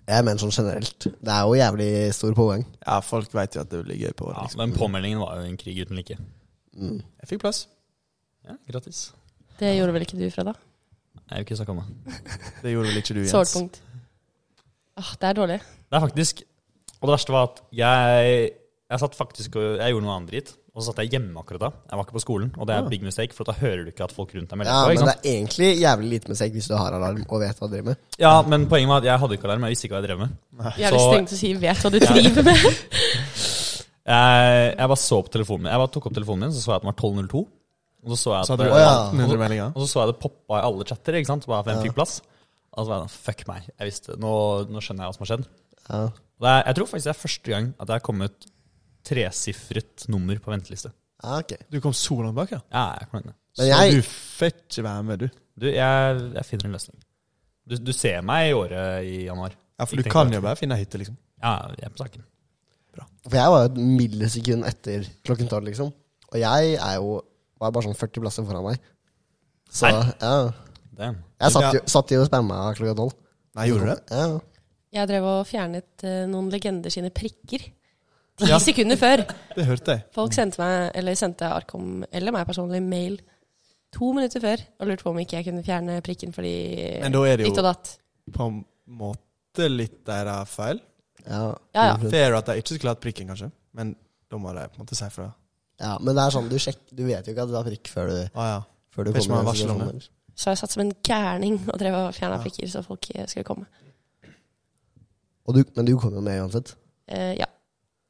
Jeg mener sånn generelt. Det er jo jævlig stor pågang. Ja, folk veit jo at det blir gøy på året. Ja, Liksom. men påmeldingen var jo en krig uten like. Mm. Jeg fikk plass. Ja, Grattis. Det gjorde vel ikke du, Freda? Jeg vil ikke snakke om det. Det gjorde vel ikke du, Jens. Sårpunkt. Åh, det er dårlig. Det er faktisk Og det verste var at jeg Jeg satt faktisk og Jeg gjorde noe annet dritt. Og så satt jeg hjemme akkurat da. Jeg var ikke på skolen, og det er big mistake, for da hører du ikke at folk rundt deg melder Ja, på. men ikke det sant? er egentlig jævlig lite musikk hvis du har alarm og vet hva du driver med. Ja, men poenget var at jeg hadde ikke alarm. Jeg visste ikke hva jeg drev med. Jævlig Så- strengt å si 'vet hva du driver med'. Jeg, jeg bare så på telefonen min. Jeg bare tok opp telefonen min, så så jeg at den var 12.02. Og så så jeg at Så hadde du Å, ja. 1800 meldinger. Og så så jeg det poppa i alle chatter, ikke sant? Bare hvem fikk plass? Og så var jeg sånn, fuck meg, jeg visste, nå, nå skjønner jeg hva som har skjedd. Ja. Og det er, jeg tror faktisk det er første gang at det er kommet tresifret nummer på venteliste. Ja, ok. Du kom så langt bak, ja. Ja, jeg er fornøyd med det. Men Så jeg, du får ikke være med, du. Du, jeg, jeg finner en løsning. Du, du ser meg i året i januar. Ja, For du kan jo bare finne ei hytte, liksom. Ja, jeg er på saken. For jeg var jo et millisekund etter klokken tolv, liksom. Og jeg er jo var bare sånn 40 plasser foran meg. Så Nei. ja. Damn. Jeg satt jo, Ja. satt jo og spamma klokka tolv. Nei, gjorde du det? Ja. Jeg drev og fjernet eh, noen legender sine prikker. Ti Ja. sekunder før. Det hørte jeg. Folk sendte meg, eller sendte Arkom, eller meg personlig, mail to minutter før og lurte på om ikke jeg kunne fjerne prikken fordi Men da er det ditt og jo datt. på en måte litt deres feil. Ja. Ja, ja. Fair at de ikke skulle hatt prikken, kanskje. Men da må de på en måte si fra. ja. Men det er sånn, du, sjekk, du vet jo ikke at du har prikk før du, Ah, ja. før du Først må man kommer. i den varsle om situasjonen. Så jeg satt som en gærning og drev og fjerna Ja. prikker så folk eh, skulle komme. Og du, men du kommer jo med uansett. Eh, ja,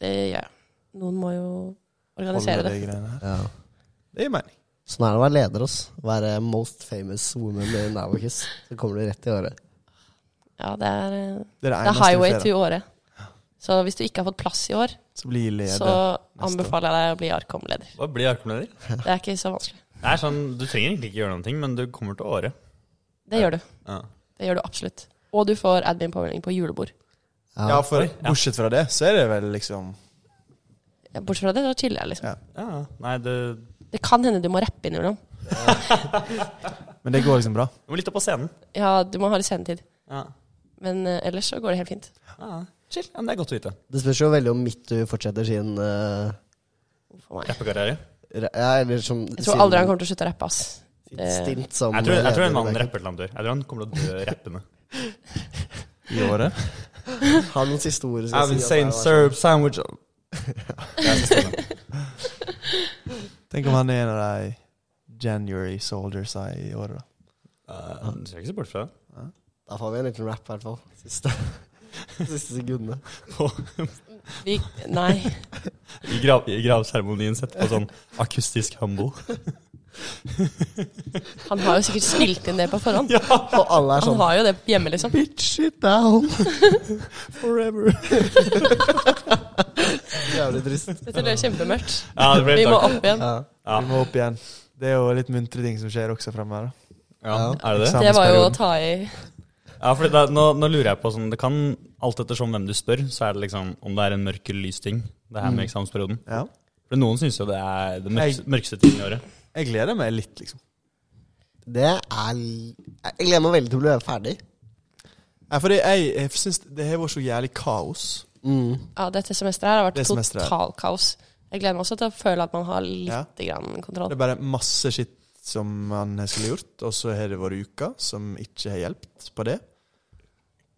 det gjør jeg. Noen må jo Holde organisere det. de greiene her. Ja. Det gir mening. Sånn er det å være leder, ass. Være most famous woman in Avacus. Så kommer du rett i året. Ja, det er, Det eh, er det det er eneste vi highway ser, da. to året. Så hvis du ikke har fått plass i år, Så blir leder. så anbefaler jeg deg å bli Arkom-leder. Hva blir arkomleder? Det er ikke så vanskelig. Det er sånn, Du trenger egentlig ikke gjøre noen ting, men du kommer til året. Det gjør du. Ja. Det gjør du absolutt. Og du får admin-påmelding på julebord. Ja, for Oi, ja. bortsett fra det, så er det vel liksom Ja, Bortsett fra det, da chiller jeg, liksom. Ja. ja. Nei, det Det kan hende du må rappe innimellom. Men det går liksom bra. Du må litt opp på scenen. Ja, du må ha litt sendetid. Ja. Men eh, ellers så går det helt fint. ja. Chill. Ja, men det er godt å vite. Det spørs jo veldig om Mittu fortsetter sin eh, For meg. Rappekarriere. ra- Ja, eller som Jeg tror aldri han kommer til å slutte å rappe, ass. Det, Stint som Jeg tror, jeg tror leder, en mann det er rapper til han dør. Jeg tror han kommer til å dø rappende. I året. ikke- Har noen siste ord å si at det sånn- er- sandwich Tenk om han er en av de January soldiers i året, da. Du ser ikke så bort fra det. Da får vi en liten rap, i hvert fall. Siste, siste sekundene. vi, nei. I, grav, I gravseremonien sett på sånn akustisk humble. Han har jo sikkert spilt inn det på forhånd. Og alle er Han sånn har jo det hjemme, liksom. Bitch it down Forever. Jævlig trist. Dette ble kjempemørkt. Ja, det ble Vi helt må takk. opp igjen. Ja. Ja. Vi må opp igjen. Det er jo litt muntre ting som skjer også framover. Ja, er det det? Det var jo å ta i Ja, for da, nå, nå lurer jeg på sånn Det kan alt ettersom hvem du spør, så er det liksom om det er en mørk eller lys ting. Det her Mm. med eksamensperioden. Ja. For noen syns jo det er det mørkeste, Jeg- mørkeste tiden i året. Jeg gleder meg litt, liksom. Det er l- Jeg gleder meg veldig til å bli ferdig. Nei, fordi jeg, jeg syns det har vært så jævlig kaos. Mm. Ja, dette semesteret her har Det vært semesteret her. total kaos. Jeg gleder meg også til å føle at man har litt grann Det kontroll. er bare masse skitt som man skulle gjort, og så har det vært uker som ikke har hjulpet på det.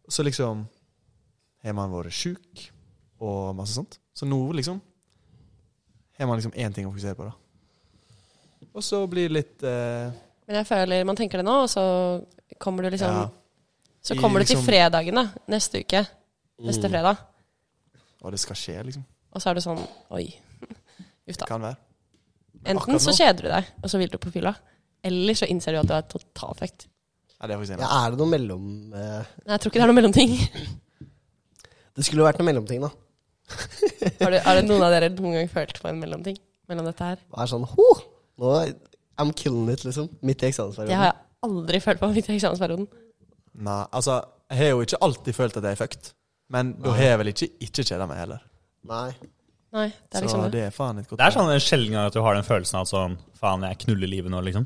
Så liksom har man vært sjuk og masse sånt. Så nå liksom har man liksom én ting å fokusere på, da. Og så blir det litt eh, Men jeg føler man tenker det nå, og så kommer du liksom Ja. Så I kommer du til liksom- Mm. fredagen, da. Neste uke. Neste fredag. Og det skal skje, liksom. Og så er du sånn Oi. Uff da. Kan være. Enten akkurat så nå- kjeder du deg, og så vil du på fylla. Eller så innser du at du er totalt fucked. Ja, det er faktisk enig. Mm. Ja, er det noe mellom eh, Nei, jeg tror ikke det er noe mellomting. Det skulle jo vært noe mellomting, da. Har, du, har det noen av dere noen gang følt på en mellomting mellom dette her? Hva er sånn Ho! Nå I'm killing it, liksom. Midt i eksamensperioden. Det har jeg aldri følt på midt i eksamensperioden. Nei, altså, jeg har jo ikke alltid følt at jeg er fucked. Men da har jeg vel ikke ikke kjeda meg heller. Nei. Nei, det er så liksom det. det er faen et godt Det er sånn en sjelden gang at du har den følelsen av at sånn Faen, jeg knuller livet nå, liksom.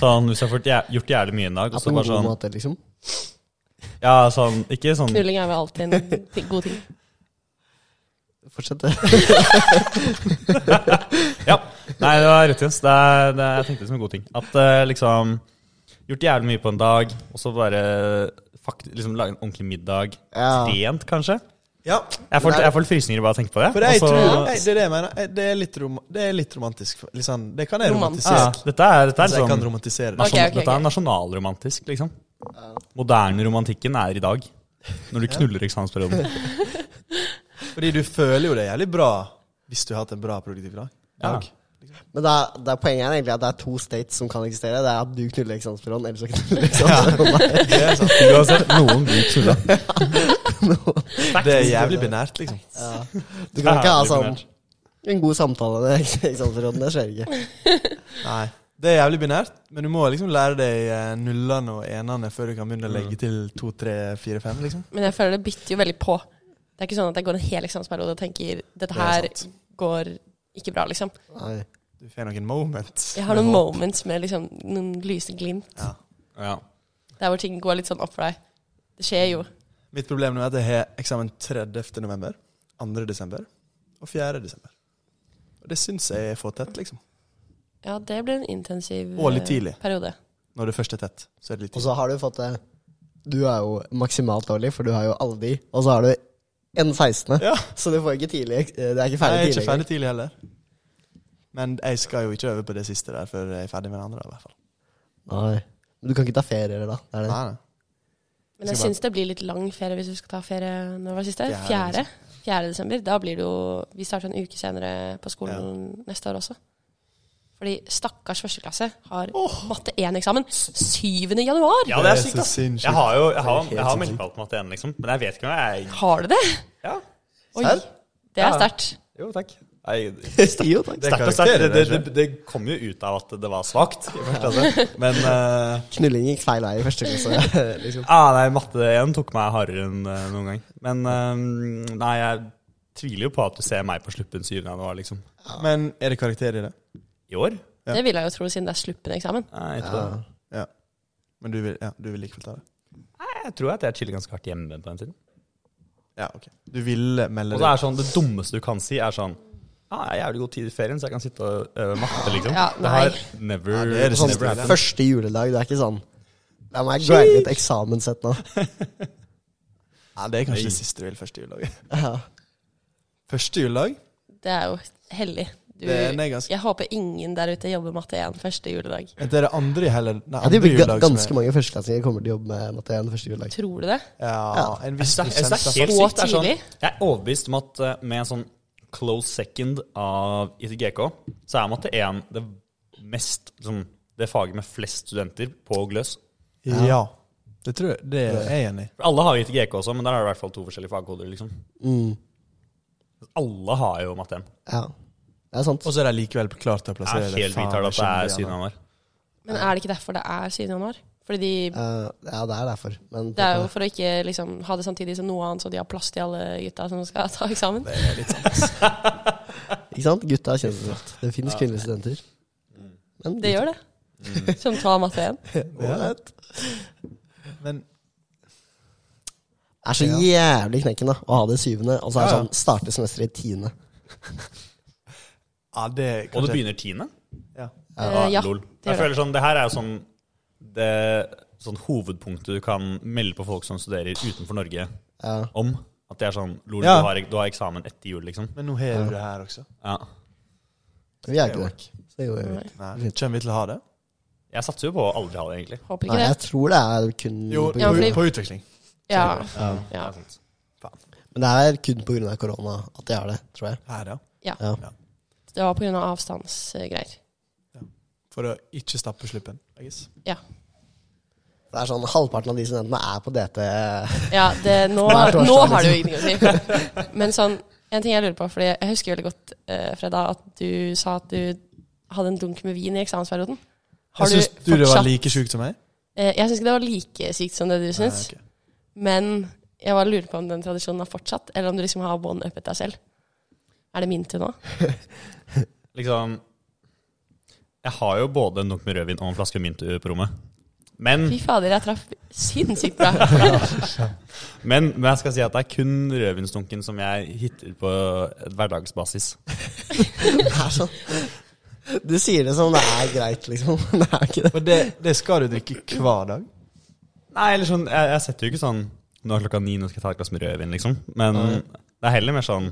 Sånn, hvis jeg har fått jæ- gjort jævlig mye en dag, Ja, og på så en bare god sånn måte, liksom. Ja, sånn Ikke sånn Knulling er vel alltid en ting, god ting. Fortsett det. Ja. Nei, det var rett og slett. Det er, det er, jeg tenkte det som en god ting. At eh, liksom Gjort jævlig mye på en dag, og så bare fakt, liksom lage en ordentlig middag. Ja. Trent, kanskje. Ja, Jeg får, Nei. jeg får litt frysninger bare av å tenke på det. for jeg Og så- tror, jeg, det er det jeg mener. Jeg- Det er litt, rom, det er litt romantisk. Litt sånn, det kan jeg Romantisk. romantisere. ja, dette er, dette er Altså, jeg kan sånn, romantisere det. Ok, nasjon- ok, dette ok. er nasjonalromantisk, liksom. Moderne romantikken er i dag. Når du knuller eksamensperioden. Fordi du føler jo det jævlig bra hvis du har hatt en bra produktiv dag. Ja. dag. Men det er, det er poenget er egentlig at det er to states som kan eksistere. Det er at du knuller eksamensperioden, eller så knuller eksamensperioden. Det er, sant. Uansett, noen blir knulla. det er jævlig binært, liksom. Du kan ikke ha Jævlig sånn binært. en god samtale i eksamensperioden. Det skjer ikke. Nei. Det er jævlig binært, men du må liksom lære deg eh, nullene og enene før du kan begynne å legge til to, tre, fire, fem. liksom. Men jeg føler det bytter jo veldig på. Det er ikke sånn at jeg går en hel eksamensperiode og tenker dette her Det er sant. går ikke bra, liksom. Nei. Du får noen moments. Jeg har noen moments med liksom, noen lyse glimt. Ja. Ja. Der hvor ting går litt sånn opp for deg. Det skjer jo. Mitt problem nå er at jeg har eksamen 30. november, 2. desember og 4. desember. Og det syns jeg er for tett, liksom. Ja, det blir en intensiv Og litt eh, tidlig. periode. Når det først er tett, så er det litt Og tidlig. så har du fått det Du er jo maksimalt dårlig, for du har jo alle de. Og så har du en 16. Ja. Så du får ikke tidlig ek- Det er ikke Nei, ferdig jeg er tidlig. ikke ferdig tidlig heller. Men jeg skal jo ikke øve på det siste der før jeg er ferdig med det andre. i hvert fall. Nei. Men du kan ikke ta ferier, da. Det er det. Nei, nei. Men Skal jeg bare- syns det blir litt lang ferie hvis du skal ta ferie når var det siste? Fjerde, liksom. Fjerde. Fjerde desember. Da blir det jo Vi starter en uke senere på skolen neste år også. Fordi stakkars førsteklasse har matte 1-eksamen 7. januar! Ja, det er Det er sykt, så ass. sinnssykt. Jeg har jo jeg har, helt jeg har sinnssykt. melkevalgt matte 1, liksom. Men jeg vet ikke om jeg Har du det? Ja. Oi. Serr? Det er Ja. sterkt. Jo, takk. Nei, Jo, takk. sterkt og sterkt. karakterer, Det, det, det, det det kom jo ut av at det var svakt. i første klasse. Men eh, Knulling gikk feil vei i første klasse. liksom. ah, nei, matte 1 tok meg hardere enn eh, noen gang. Men eh, nei, jeg tviler jo på at du ser meg på sluppen 7. januar, liksom. Men er det karakter i det? I år? Ja. Det vil jeg jo tro, siden det er sluppende eksamen. Nei, jeg Ja. tror, Ja. Men du vil, ja, du vil likevel ta det? nei, jeg tror at jeg chiller ganske hardt hjemme på den tiden. Ja, ok. Du ville melde Og så er det sånn, det dummeste du kan si, er sånn Ja, ah, jeg har jævlig god tid i ferien, så jeg kan sitte og øve matte, liksom. Ja, det nei. har never Ja, det er det Sånn, Never happen. første juledag, det er ikke sånn La meg grinde et eksamenssett nå. Ja, det er kanskje Nei. det siste du vil første juledag. Ja. Første juledag? Det er jo hellig. Du, Det er- det er ganske- jeg håper ingen der ute jobber matte 1 første juledag. Det er det andre i heller. Nei, Ja, det andre blir ga- juledag som ganske er- mange førsteklassinger kommer til å jobbe med matte 1 første juledag. Tror du det? Ja, en viss Jeg synes det er prosent. helt Så sykt. Det er sånn, tidlig. jeg er overbevist om at eh, med en sånn close second av ITGK, så er matte 1 det mest liksom, Det faget med flest studenter på Gløs. Ja. ja. Det tror jeg. Det er jeg enig i. For alle har jo ITGK også, men der er det i hvert fall to forskjellige fagkoder. liksom. Mm. Alle har jo matte 1. Ja. Det er sant. Og så er de likevel klart til å Det plassere er helt faen vidt her at det skjønner jeg er gjerne. siden han var. Men er det ikke derfor det er 7. januar? Fordi de, Eh, ja, det er derfor. Men det er jo for å ikke liksom, ha det samtidig som noe annet, så de har plass til alle gutta som skal ta eksamen. sånn, Ikke sant? Gutta er kjendiskraft. Det finnes kvinnelige studenter. Mm. Men Det gjør det. Som tar matte 1. Men Det er så jævlig knekken da å ha det syvende, og så er det Ja, ja. sånn starte semesteret i tiende. ja, det er Og det kanskje- begynner tiende? Ah, Ja. Eh, ja, Lol. gjør Jeg føler sånn, det her er jo sånn det sånn hovedpunktet du kan melde på folk som studerer utenfor Norge, Ja. om. At det er sånn Lol, Ja. du, har, du har eksamen etter jul, liksom. Men nå har du det her også. Ja. Vi er ikke det. Så det går jo ikke. Nei. Kommer vi til å ha det? Jeg satser jo på å aldri ha det, egentlig. Håper Nei, ikke jeg det. tror det er kun Jo, på på, Ja, grunn av, fordi- utveksling. Ja. Ja. Ja. Men det er kun på grunn av korona at jeg har det, tror jeg. Her, ja. Ja. Det var pga. av avstandsgreier. For å ikke stappe sluppen. I guess. Ja. Det er sånn Halvparten av de studentene er på DT. ja det, nå, Det er torsdag, nå har det jo ingenting å si. Men sånn, en ting jeg lurer på, Fordi jeg husker veldig godt, eh, Freda, at du sa at du hadde en dunk med vin i eksamensperioden. Har jeg syns du det var fortsatt- like sjukt som meg? Eh, Jeg syns ikke det var like sykt som det du syns, Nei, ok. men jeg bare lurer på om den tradisjonen har fortsatt, eller om du liksom har one-uppet deg selv. Er det min tur nå? Liksom Jeg har jo både en dunk med rødvin og en flaske mint på rommet. Hm. Men, Fy fader, jeg traff sinnssykt bra. men, men jeg skal si at det er kun rødvinsdunken som jeg hitter på et hverdagsbasis. Det er sånn Du sier det som det er greit, liksom. Det er ikke det. Og det, det skal du drikke hver dag. Nei, eller sånn Jeg, jeg setter jo ikke sånn Nå er klokka ni, nå skal jeg ta et glass med rødvin, liksom. Men det er heller mer sånn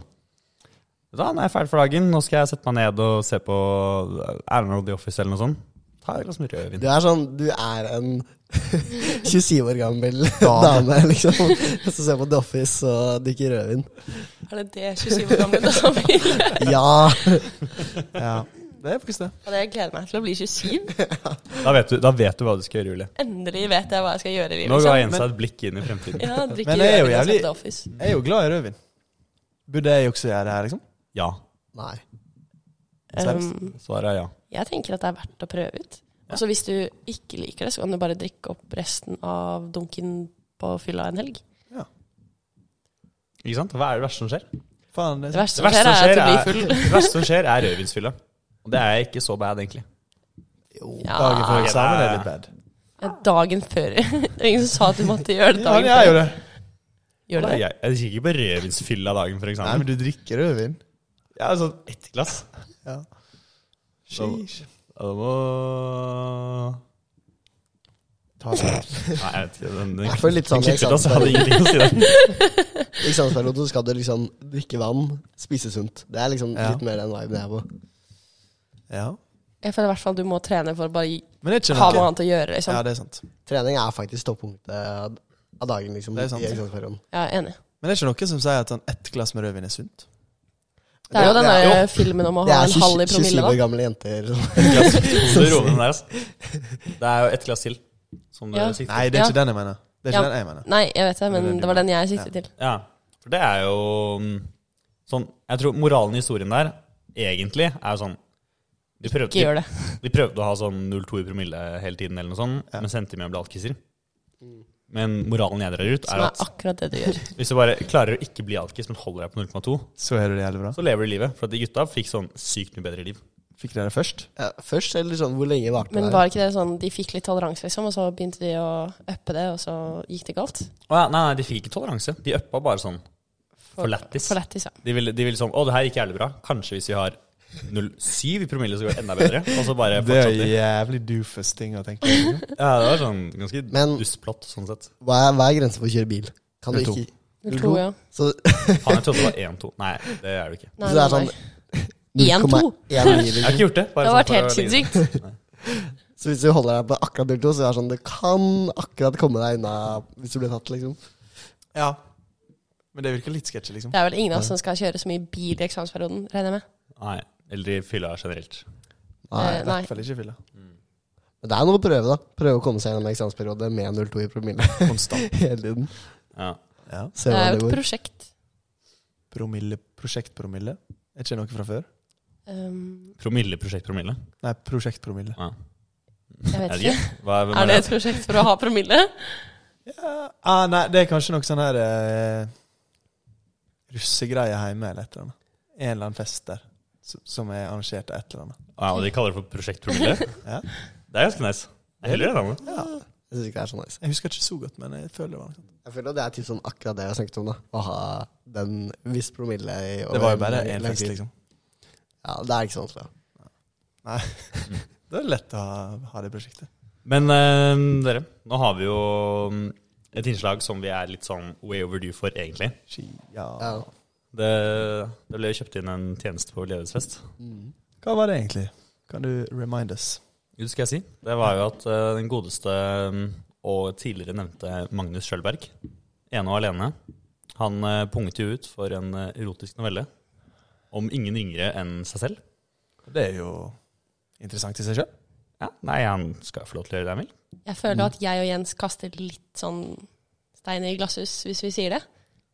Da nå er jeg ferdig for dagen, nå skal jeg sette meg ned og se på eh, Erlend og The Office eller noe sånt. Ta et glass med rødvin. Du er sånn Du er en 27 år gammel dame, liksom. Som ser på The Office og drikker rødvin. Er det det 27 år gamle dama vil? Ja! Ja, det er faktisk det. Og det gleder meg til å bli 27. Da vet du, da vet du hva du skal gjøre, Julie. Endelig vet jeg hva jeg skal gjøre i livet. Nå ga liksom. Jens deg et blikk inn i fremtiden. Ja, drikke Men det er jo rødvin og se jævlig- The Office. Jeg er jo glad i rødvin. Burde jeg også gjøre det her, liksom? Ja. Nei. Seriøst? Um, Svaret er ja. jeg tenker at det er verdt å prøve ut. Og så hvis du ikke liker det, så kan du bare drikke opp resten av dunken på fylla en helg. Ja. Ikke sant? Hva er det verste som skjer? Faen, det sånn- Det verste som skjer, er at du blir full. det verste som skjer, er rødvinsfylla. Og det er ikke så bad, egentlig. Jo, Ja. dagen før Ok, eksamen er det er- litt bad. Dagen før. Det var ingen som sa at du måtte gjøre Ja, det men dagen jeg før. gjør det. Gjør du det? Jeg, jeg kikker ikke på rødvinsfylla dagen for Nei, eksamen. men du drikker rødvin. Ja, altså, ett glass. Ja. Sheesh. Ja, det må Ta det. Nei, jeg vet ikke. Den, den, Jeg føler litt sånn den klippet ut, altså. Jeg eksamensperioden. hadde ingenting å si der. I eksamensperioden skal du liksom drikke vann, spise sunt. Det er liksom Ja. litt mer den viben jeg er på. Ja. Jeg føler i hvert fall du må trene for å bare gi- Men det er ikke ha noe noe. annet å gjøre. Liksom. Ja, det er sant. Trening er faktisk toppunktet av av dagen, liksom. Det er sant. I eksamensperioden. Jeg er enig. Men det er ikke noe som sier at sånn ett glass med rødvin er sunt. Det er jo Det- den det er- der filmen om å Det er ha en halv i 27 promille, år da. gamle jenter. liksom. Et glass. Så roer den der, altså. Det er jo ett glass til. Som Ja. du sikter Nei, det er Ja. ikke den jeg mener. Det er ikke Ja. den jeg mener. Nei, jeg vet det, Det er den men du det var den jeg siktet til. Ja, for det er jo mm, sånn Jeg tror moralen i historien der egentlig er jo sånn Vi Ikke prøvde, gjør det. vi, prøvde å ha sånn 0,2 i promille hele tiden, eller noe sånt, Ja. men sendte hjem og ble alkiser. Men moralen jeg drar ut, Mm. Som er er at akkurat det du gjør. hvis du bare klarer å ikke bli alkis, men holder deg på 0,2, Så er det jævlig bra. så lever du livet. For at de gutta fikk sånn sykt mye bedre liv. Fikk dere det først? Ja, først, eller sånn hvor lenge varte Men det? her? var ikke det sånn de fikk litt toleranse, liksom, og så begynte de å uppe det, og så gikk det galt? Å ja, nei, nei, de fikk ikke toleranse. De uppa bare sånn. For lættis. For liksom lættis, ja. De ville, de ville sånn Å, det her gikk jævlig bra. Kanskje hvis vi har 0,7 i promille, så går det enda bedre. Og så bare Det er fortsatte de. jævlig doofus ting å tenke på. Ja, det var sånn ganske Men- dustplott, sånn sett. Hva er, hva er grensen for å kjøre bil? Kan du Det er to. ikke Null to, ja. Så Faen, jeg trodde det var 1-2. Nei, det er det ikke. Nei, Så det er nei, sånn- nei. 0,1 mil, Jeg har liksom. ikke gjort det. Det Bare hadde vært sånn helt for å ligge- sinnssykt. Så hvis du holder deg på akkurat 0,2, så er det sånn Du kan akkurat komme deg unna hvis du blir tatt, liksom. Ja. Men det virker litt sketchy, liksom. Det er vel ingen av oss som skal kjøre så mye bil i eksamensperioden, regner jeg med. sånn. Nei. Eller i fylla generelt. Nei, I nei. hvert fall ikke fylla. Mm. Men det er noe å prøve, da. Prøve å komme seg gjennom eksamensperiode med 0,2 i promille Konstant. hele tiden. Ja. Ja. Se Det er hvordan jo det et går. prosjekt. Promille, prosjektpromille. Er ikke det noe fra før? Um, Promille, prosjekt promille. Nei, prosjektpromille. Ja. jeg vet Er det ikke. ikke? Hva, hvem Er det et prosjekt for å ha promille? Ja, ah, nei, det er kanskje noe sånn her eh, russegreie hjemme eller et eller annet. En eller annen fest der som- som er arrangert av et eller annet. Ja, og de kaller det for prosjekt promille? Ja. Det er ganske nice. Jeg heller det da. Ja. Jeg synes ikke det er så nice. Jeg husker ikke så godt, men jeg føler det var noe sånt. Jeg føler at det er typ sånn akkurat det jeg snakket om, da. Å ha den viss promille i Det var jo bare én fest, liksom. Ja, det er ikke sånn, tror jeg. Det er lett å ha, ha det prosjektet. Men eh, dere, nå har vi jo mm, et innslag som vi er litt sånn way overdue for, egentlig. Ski, ja. Ja. Det, det ble kjøpt inn en tjeneste på Levetsfest. Mm. Hva var det egentlig? Kan du remind us? Jo, det skal jeg si. Det var jo at eh, den godeste mm, og tidligere nevnte Magnus Schjølberg, ene og alene, han eh, punget jo ut for en eh, erotisk novelle om ingen yngre enn seg selv. Det er jo interessant i seg sjøl. Ja, Nei, han skal få lov til å gjøre det han vil. Jeg Mm. føler at jeg og Jens kaster litt sånn stein i glasshus hvis vi sier det.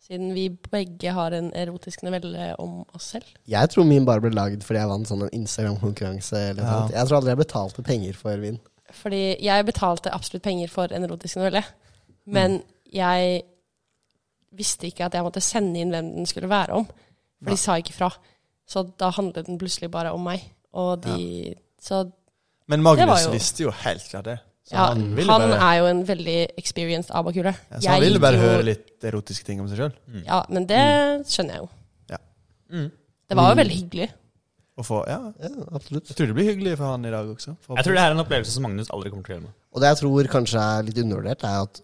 Siden vi begge har en erotisk novelle om oss selv. Jeg tror min bare ble lagd fordi jeg vant sånn en Instagram-konkurranse eller noe Ja. sånt. Jeg tror aldri jeg betalte penger for vin. Fordi jeg betalte absolutt penger for en erotisk novelle. Mm. Men jeg visste ikke at jeg måtte sende inn hvem den skulle være om. For de sa ikke fra. Så da handlet den plutselig bare om meg. Og de Så Men Magnus Det var jo- visste jo helt klart det. Så ja, han han, ville bare, er jo en veldig experienced abakule. ja, så han ville gikk bare jo- høre litt erotiske ting om seg sjøl. Ja, men det Mm. skjønner jeg jo. Ja. Det Mm. var jo veldig hyggelig. Og få, ja, Ja, absolutt. jeg tror det blir hyggelig for han i dag også. Jeg tror det her er en opplevelse som Magnus aldri kommer til å gjøre med. Og det jeg tror kanskje er litt undervurdert, er at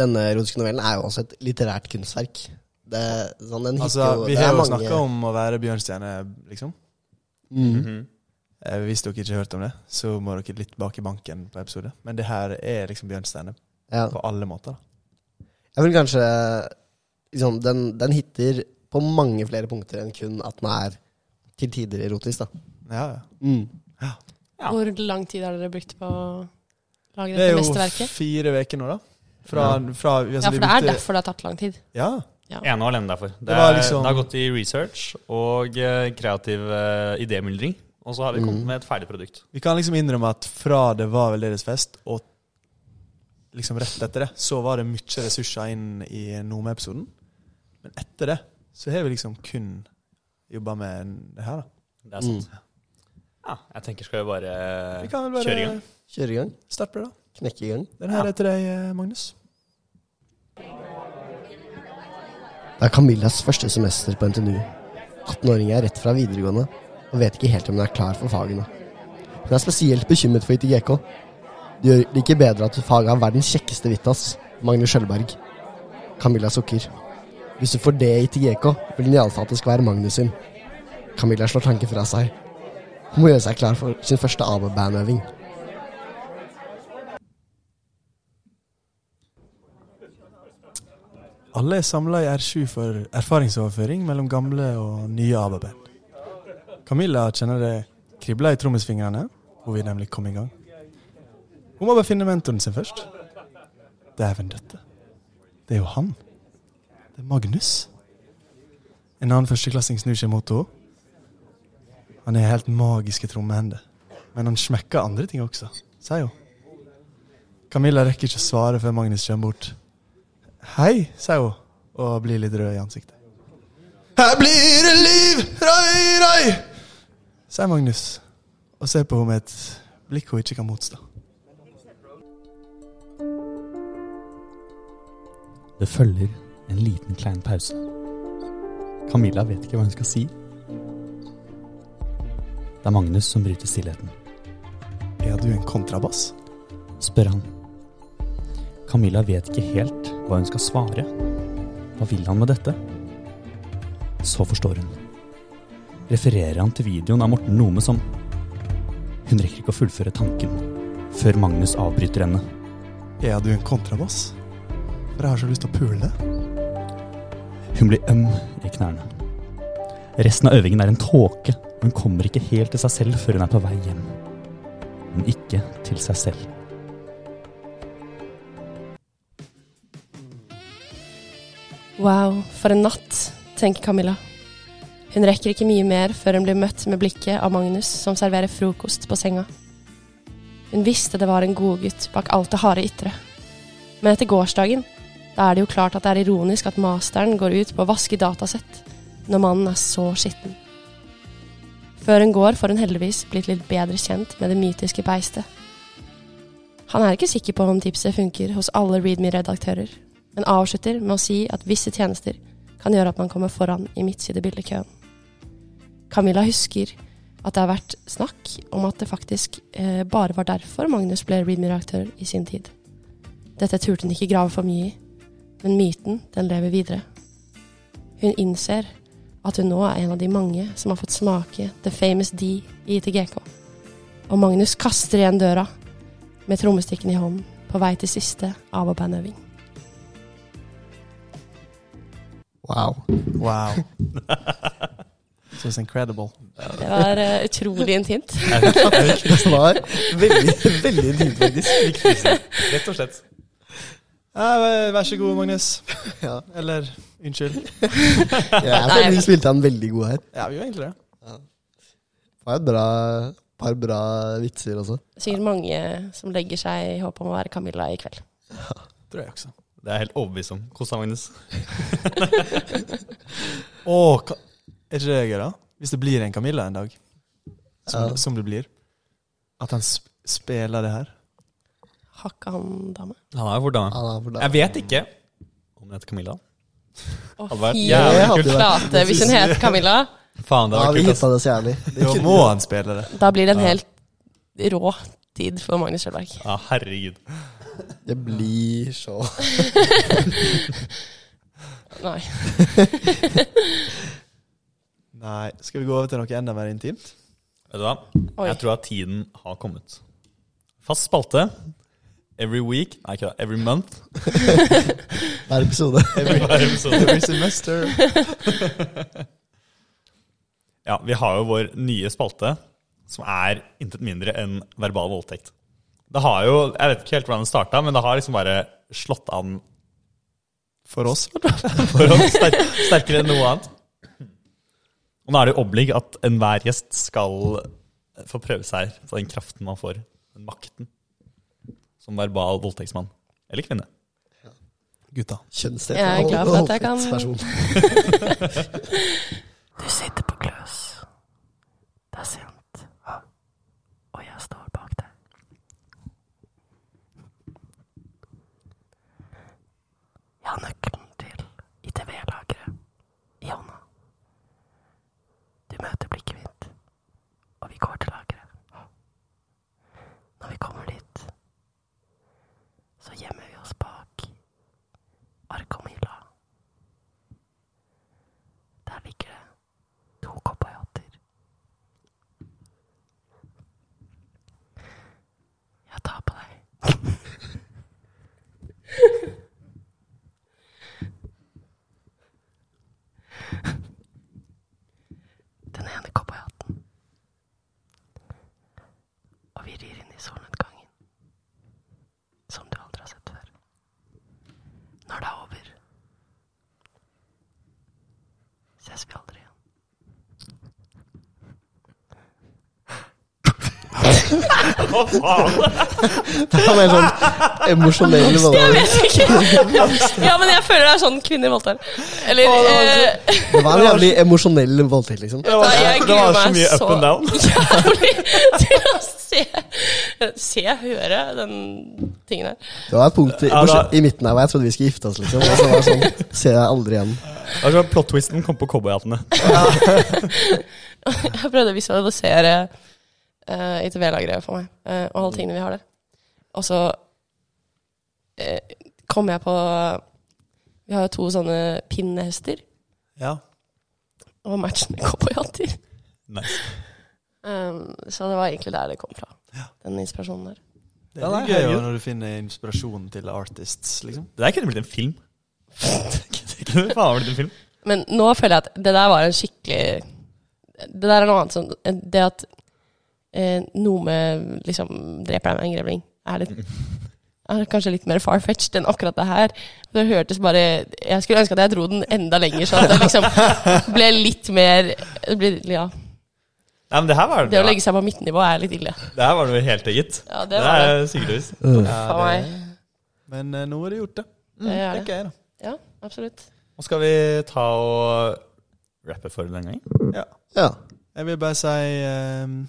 denne erotiske novellen er jo også et litterært kunstverk. Det, sånn, den hitter Altså, jo- vi det er har jo mange- snakka om å være bjørnstjerne, liksom. Mm. Eh, Hvis dere ikke har hørt om det, så må dere litt bak i banken på episode. Men det her er liksom bjørnstjerne Ja. på alle måter. da. Jeg vil kanskje liksom, den, den hitter på mange flere punkter enn kun at den er til tider erotisk, da. Ja, ja. Ja. Hvor lang tid har dere brukt på å Det lage dette er jo mesterverket? fire uker nå, da. Fra, fra, altså, Ja, vi for det er brukte- derfor det har tatt lang tid. Ja, Ja. Ene og alene derfor. Det, Det var er, liksom- det har gått i research og eh, kreativ uh, idémyldring. Og så har vi Mhm. kommet med et ferdig produkt. Vi kan liksom innrømme at fra det var vel deres fest, og liksom rett etter det, så var det mye ressurser inn i Nome-episoden. Men etter det så har vi liksom kun jobba med det her, da. Det er sant. Ja, jeg tenker skal vi bare, Mhm. Vi kan vel kjøre i bare gang. Kjøre i gang. starte på det, da. Knekke i gang. Den her er til deg, eh, Magnus. Det er Camillas første semester på NTNU. 18-åringen er rett fra videregående og vet ikke helt om hun er klar for fagene. Hun er spesielt bekymret for ITGK. Det gjør det ikke bedre at faget har verdens kjekkeste vittas, Magnus Skjølberg. Camilla sukker. Hvis du får det i ITGK, vil den iallfall at det skal være Magnus sin. Camilla slår tanken fra seg. Hun må gjøre seg klar for sin første ABBA-bandøving. Alle er samla i R7 for erfaringsoverføring mellom gamle og nye ABB-band. Camilla kjenner det kribler i trommisfingrene. Hun vil nemlig komme i gang. Hun må bare finne mentoren sin først. Dæven døtte. Det er jo han. Det er Magnus. En annen førsteklassing snur seg mot henne. Han har helt magiske trommehender. Men han smekker andre ting også, sier hun. Camilla rekker ikke å svare før Magnus kommer bort. Hei, sier hun, og blir litt rød i ansiktet. Her blir det liv! Røy, røy! sier Magnus, og ser på henne med et blikk hun ikke kan motstå. Det følger en liten klein pause. Camilla vet ikke hva hun skal si. Det er Magnus som bryter stillheten. Er du en kontrabass? Spør han. Camilla vet ikke helt hva hun skal svare. Hva vil han med dette? Så forstår hun. Refererer han til videoen av Morten Nome som Hun rekker ikke å fullføre tanken før Magnus avbryter henne. Er du en kontrabass? For jeg har så lyst til å pule. Hun blir øm i knærne. Resten av øvingen er en tåke. og Hun kommer ikke helt til seg selv før hun er på vei hjem. Men ikke til seg selv. Wow, for en natt, tenker Camilla. Hun rekker ikke mye mer før hun blir møtt med blikket av Magnus, som serverer frokost på senga. Hun visste det var en godgutt bak alt det harde ytre. Men etter gårsdagen, da er det jo klart at det er ironisk at masteren går ut på å vaske datasett, når mannen er så skitten. Før hun går, får hun heldigvis blitt litt bedre kjent med det mytiske beistet. Han er ikke sikker på om tipset funker hos alle ReadMe-redaktører men avslutter med å si at visse tjenester kan gjøre at man kommer foran i midtsidebildekøen. Camilla husker at det har vært snakk om at det faktisk eh, bare var derfor Magnus ble Readme-redaktør i sin tid. Dette turte hun ikke grave for mye i, men myten den lever videre. Hun innser at hun nå er en av de mange som har fått smake The Famous D i ITGK. Og Magnus kaster igjen døra med trommestikken i hånden på vei til siste ABBA-bandøving. Wow. Wow. So it's incredible. Det var eh, utrolig intimt. Det var veldig, veldig intimt, faktisk. Rett og slett. Ja, vær så god, Magnus. Ja. Eller unnskyld. Jeg føler vi spilte han veldig god her. Ja, vi gjør egentlig det. Det var et bra, par bra vitser også. Sikkert mange som legger seg i håp om å være Camilla i kveld. Tror jeg også. Det er jeg helt overbevist om. Kos deg, Magnus. Å, ka- er ikke det gøy, da? Hvis det blir en Camilla en dag, som, Ja. som det blir, at han sp spiller det her Har ikke han dame? Han er jo fort dame. Han er for Jeg vet ikke om det heter Camilla. Å, Hadde vært fy jævlig hadde kult. flate hvis hun het Camilla. Faen, det Ja, var vi kult. altså. ass. hitta det så jævlig. Det Da kunne- må han spille det. Da blir det en helt rå tid for Magnus Kjølberg. Ja, herregud. Det blir så Nei. Nei, Skal vi gå over til noe enda mer intimt? Vet du hva? Oi. Jeg tror at tiden har kommet. Fast spalte. Every week Nei, ikke da. Every month. hver episode. Hver episode. Every semester. Ja, vi har jo vår nye spalte, som er intet mindre enn verbal voldtekt. Det har jo, Jeg vet ikke helt hvordan det starta, men det har liksom bare slått an For oss. For å sterk, sterkere enn noe annet. Og nå er det jo oblig at enhver gjest skal få prøve seg på den kraften man får, den makten, som verbal voldtektsmann. Eller kvinne. Gutta. Kjønnsdelt. Jeg er glad for at jeg kan- Voldtektsperson. Du sitter på gløs. Det er sent. Og jeg står bak deg. Jeg har nøkkelen til ITV-lageret i hånda. Du møter blikket mitt, og vi går til lageret. Når vi kommer dit, så gjemmer vi oss bak Arkomila. Der ligger det to cowboyhatter. Jeg tar på deg. Den ene cowboyhatten. Og vi rir inn i solnedgangen. Som du aldri har sett før. Når det er over, ses vi aldri igjen. Han er sånn emosjonell Jeg voldtekt. vet ikke. Ja, men jeg føler det er sånn kvinner voldtar. Eller eh, Det var en jævlig emosjonell voldtekt, liksom. Det var, Nei, jeg det var gruer så meg mye up så- and down. jævlig til å se, se høre den tingen her. Det var et punkt i, Ja, da- i midten her hvor jeg trodde vi skulle gifte oss, liksom. Og så var det sånn, ser jeg aldri igjen. Det var sånn Plot-twisten kom på cowboyhattene. Jeg prøvde å visualisere eh, ITV-lageret for meg, eh, og alle tingene vi har der. Og så eh, kom jeg på Vi har jo to sånne pinnehester, Ja. og matchende cowboyhatter. Nice. Um, så det var egentlig der det kom fra, den inspirasjonen der. Det Ja, er nei, gøy herregud. jo når du finner inspirasjon til artists, liksom. Det der kunne blitt en film. Det kunne faen blitt en film. Men nå føler jeg at det der var en skikkelig Det der er noe annet sånn Det at eh, noe med liksom dreper deg med en grevling, er litt er kanskje litt mer far-fetched enn akkurat det her. Det hørtes bare Jeg skulle ønske at jeg dro den enda lenger, sånn at det liksom ble litt mer det ble, Ja. Nei, men Det her var Det å legge seg på midtnivå er litt ille. Det her var noe helt eget. Ja, Det det var det. er Sigurdhus. For Ja, meg. det, Mm, men eh, nå er det gjort, det. Det er det. Tenker jeg, da. Ja, absolutt. Nå skal vi ta og rappe for den gangen. Ja. Ja. Jeg vil bare si eh, en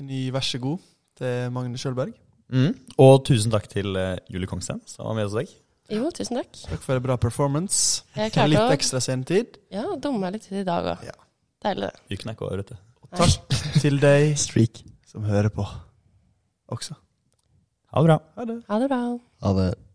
ny vær så god til Magne Sjølberg. Og tusen takk til eh, Julie Kongsten, som var med hos deg. Jo, tusen takk. Takk for en bra performance. Litt Jeg klarte å ekstra sendetid. Ja, dumme meg litt i dag òg. Ja. Deilig, det. Uken er ikke over, vet du. Takk til deg Streak. som hører på også. Ha det bra. Ha det. Ha det bra. Ha det.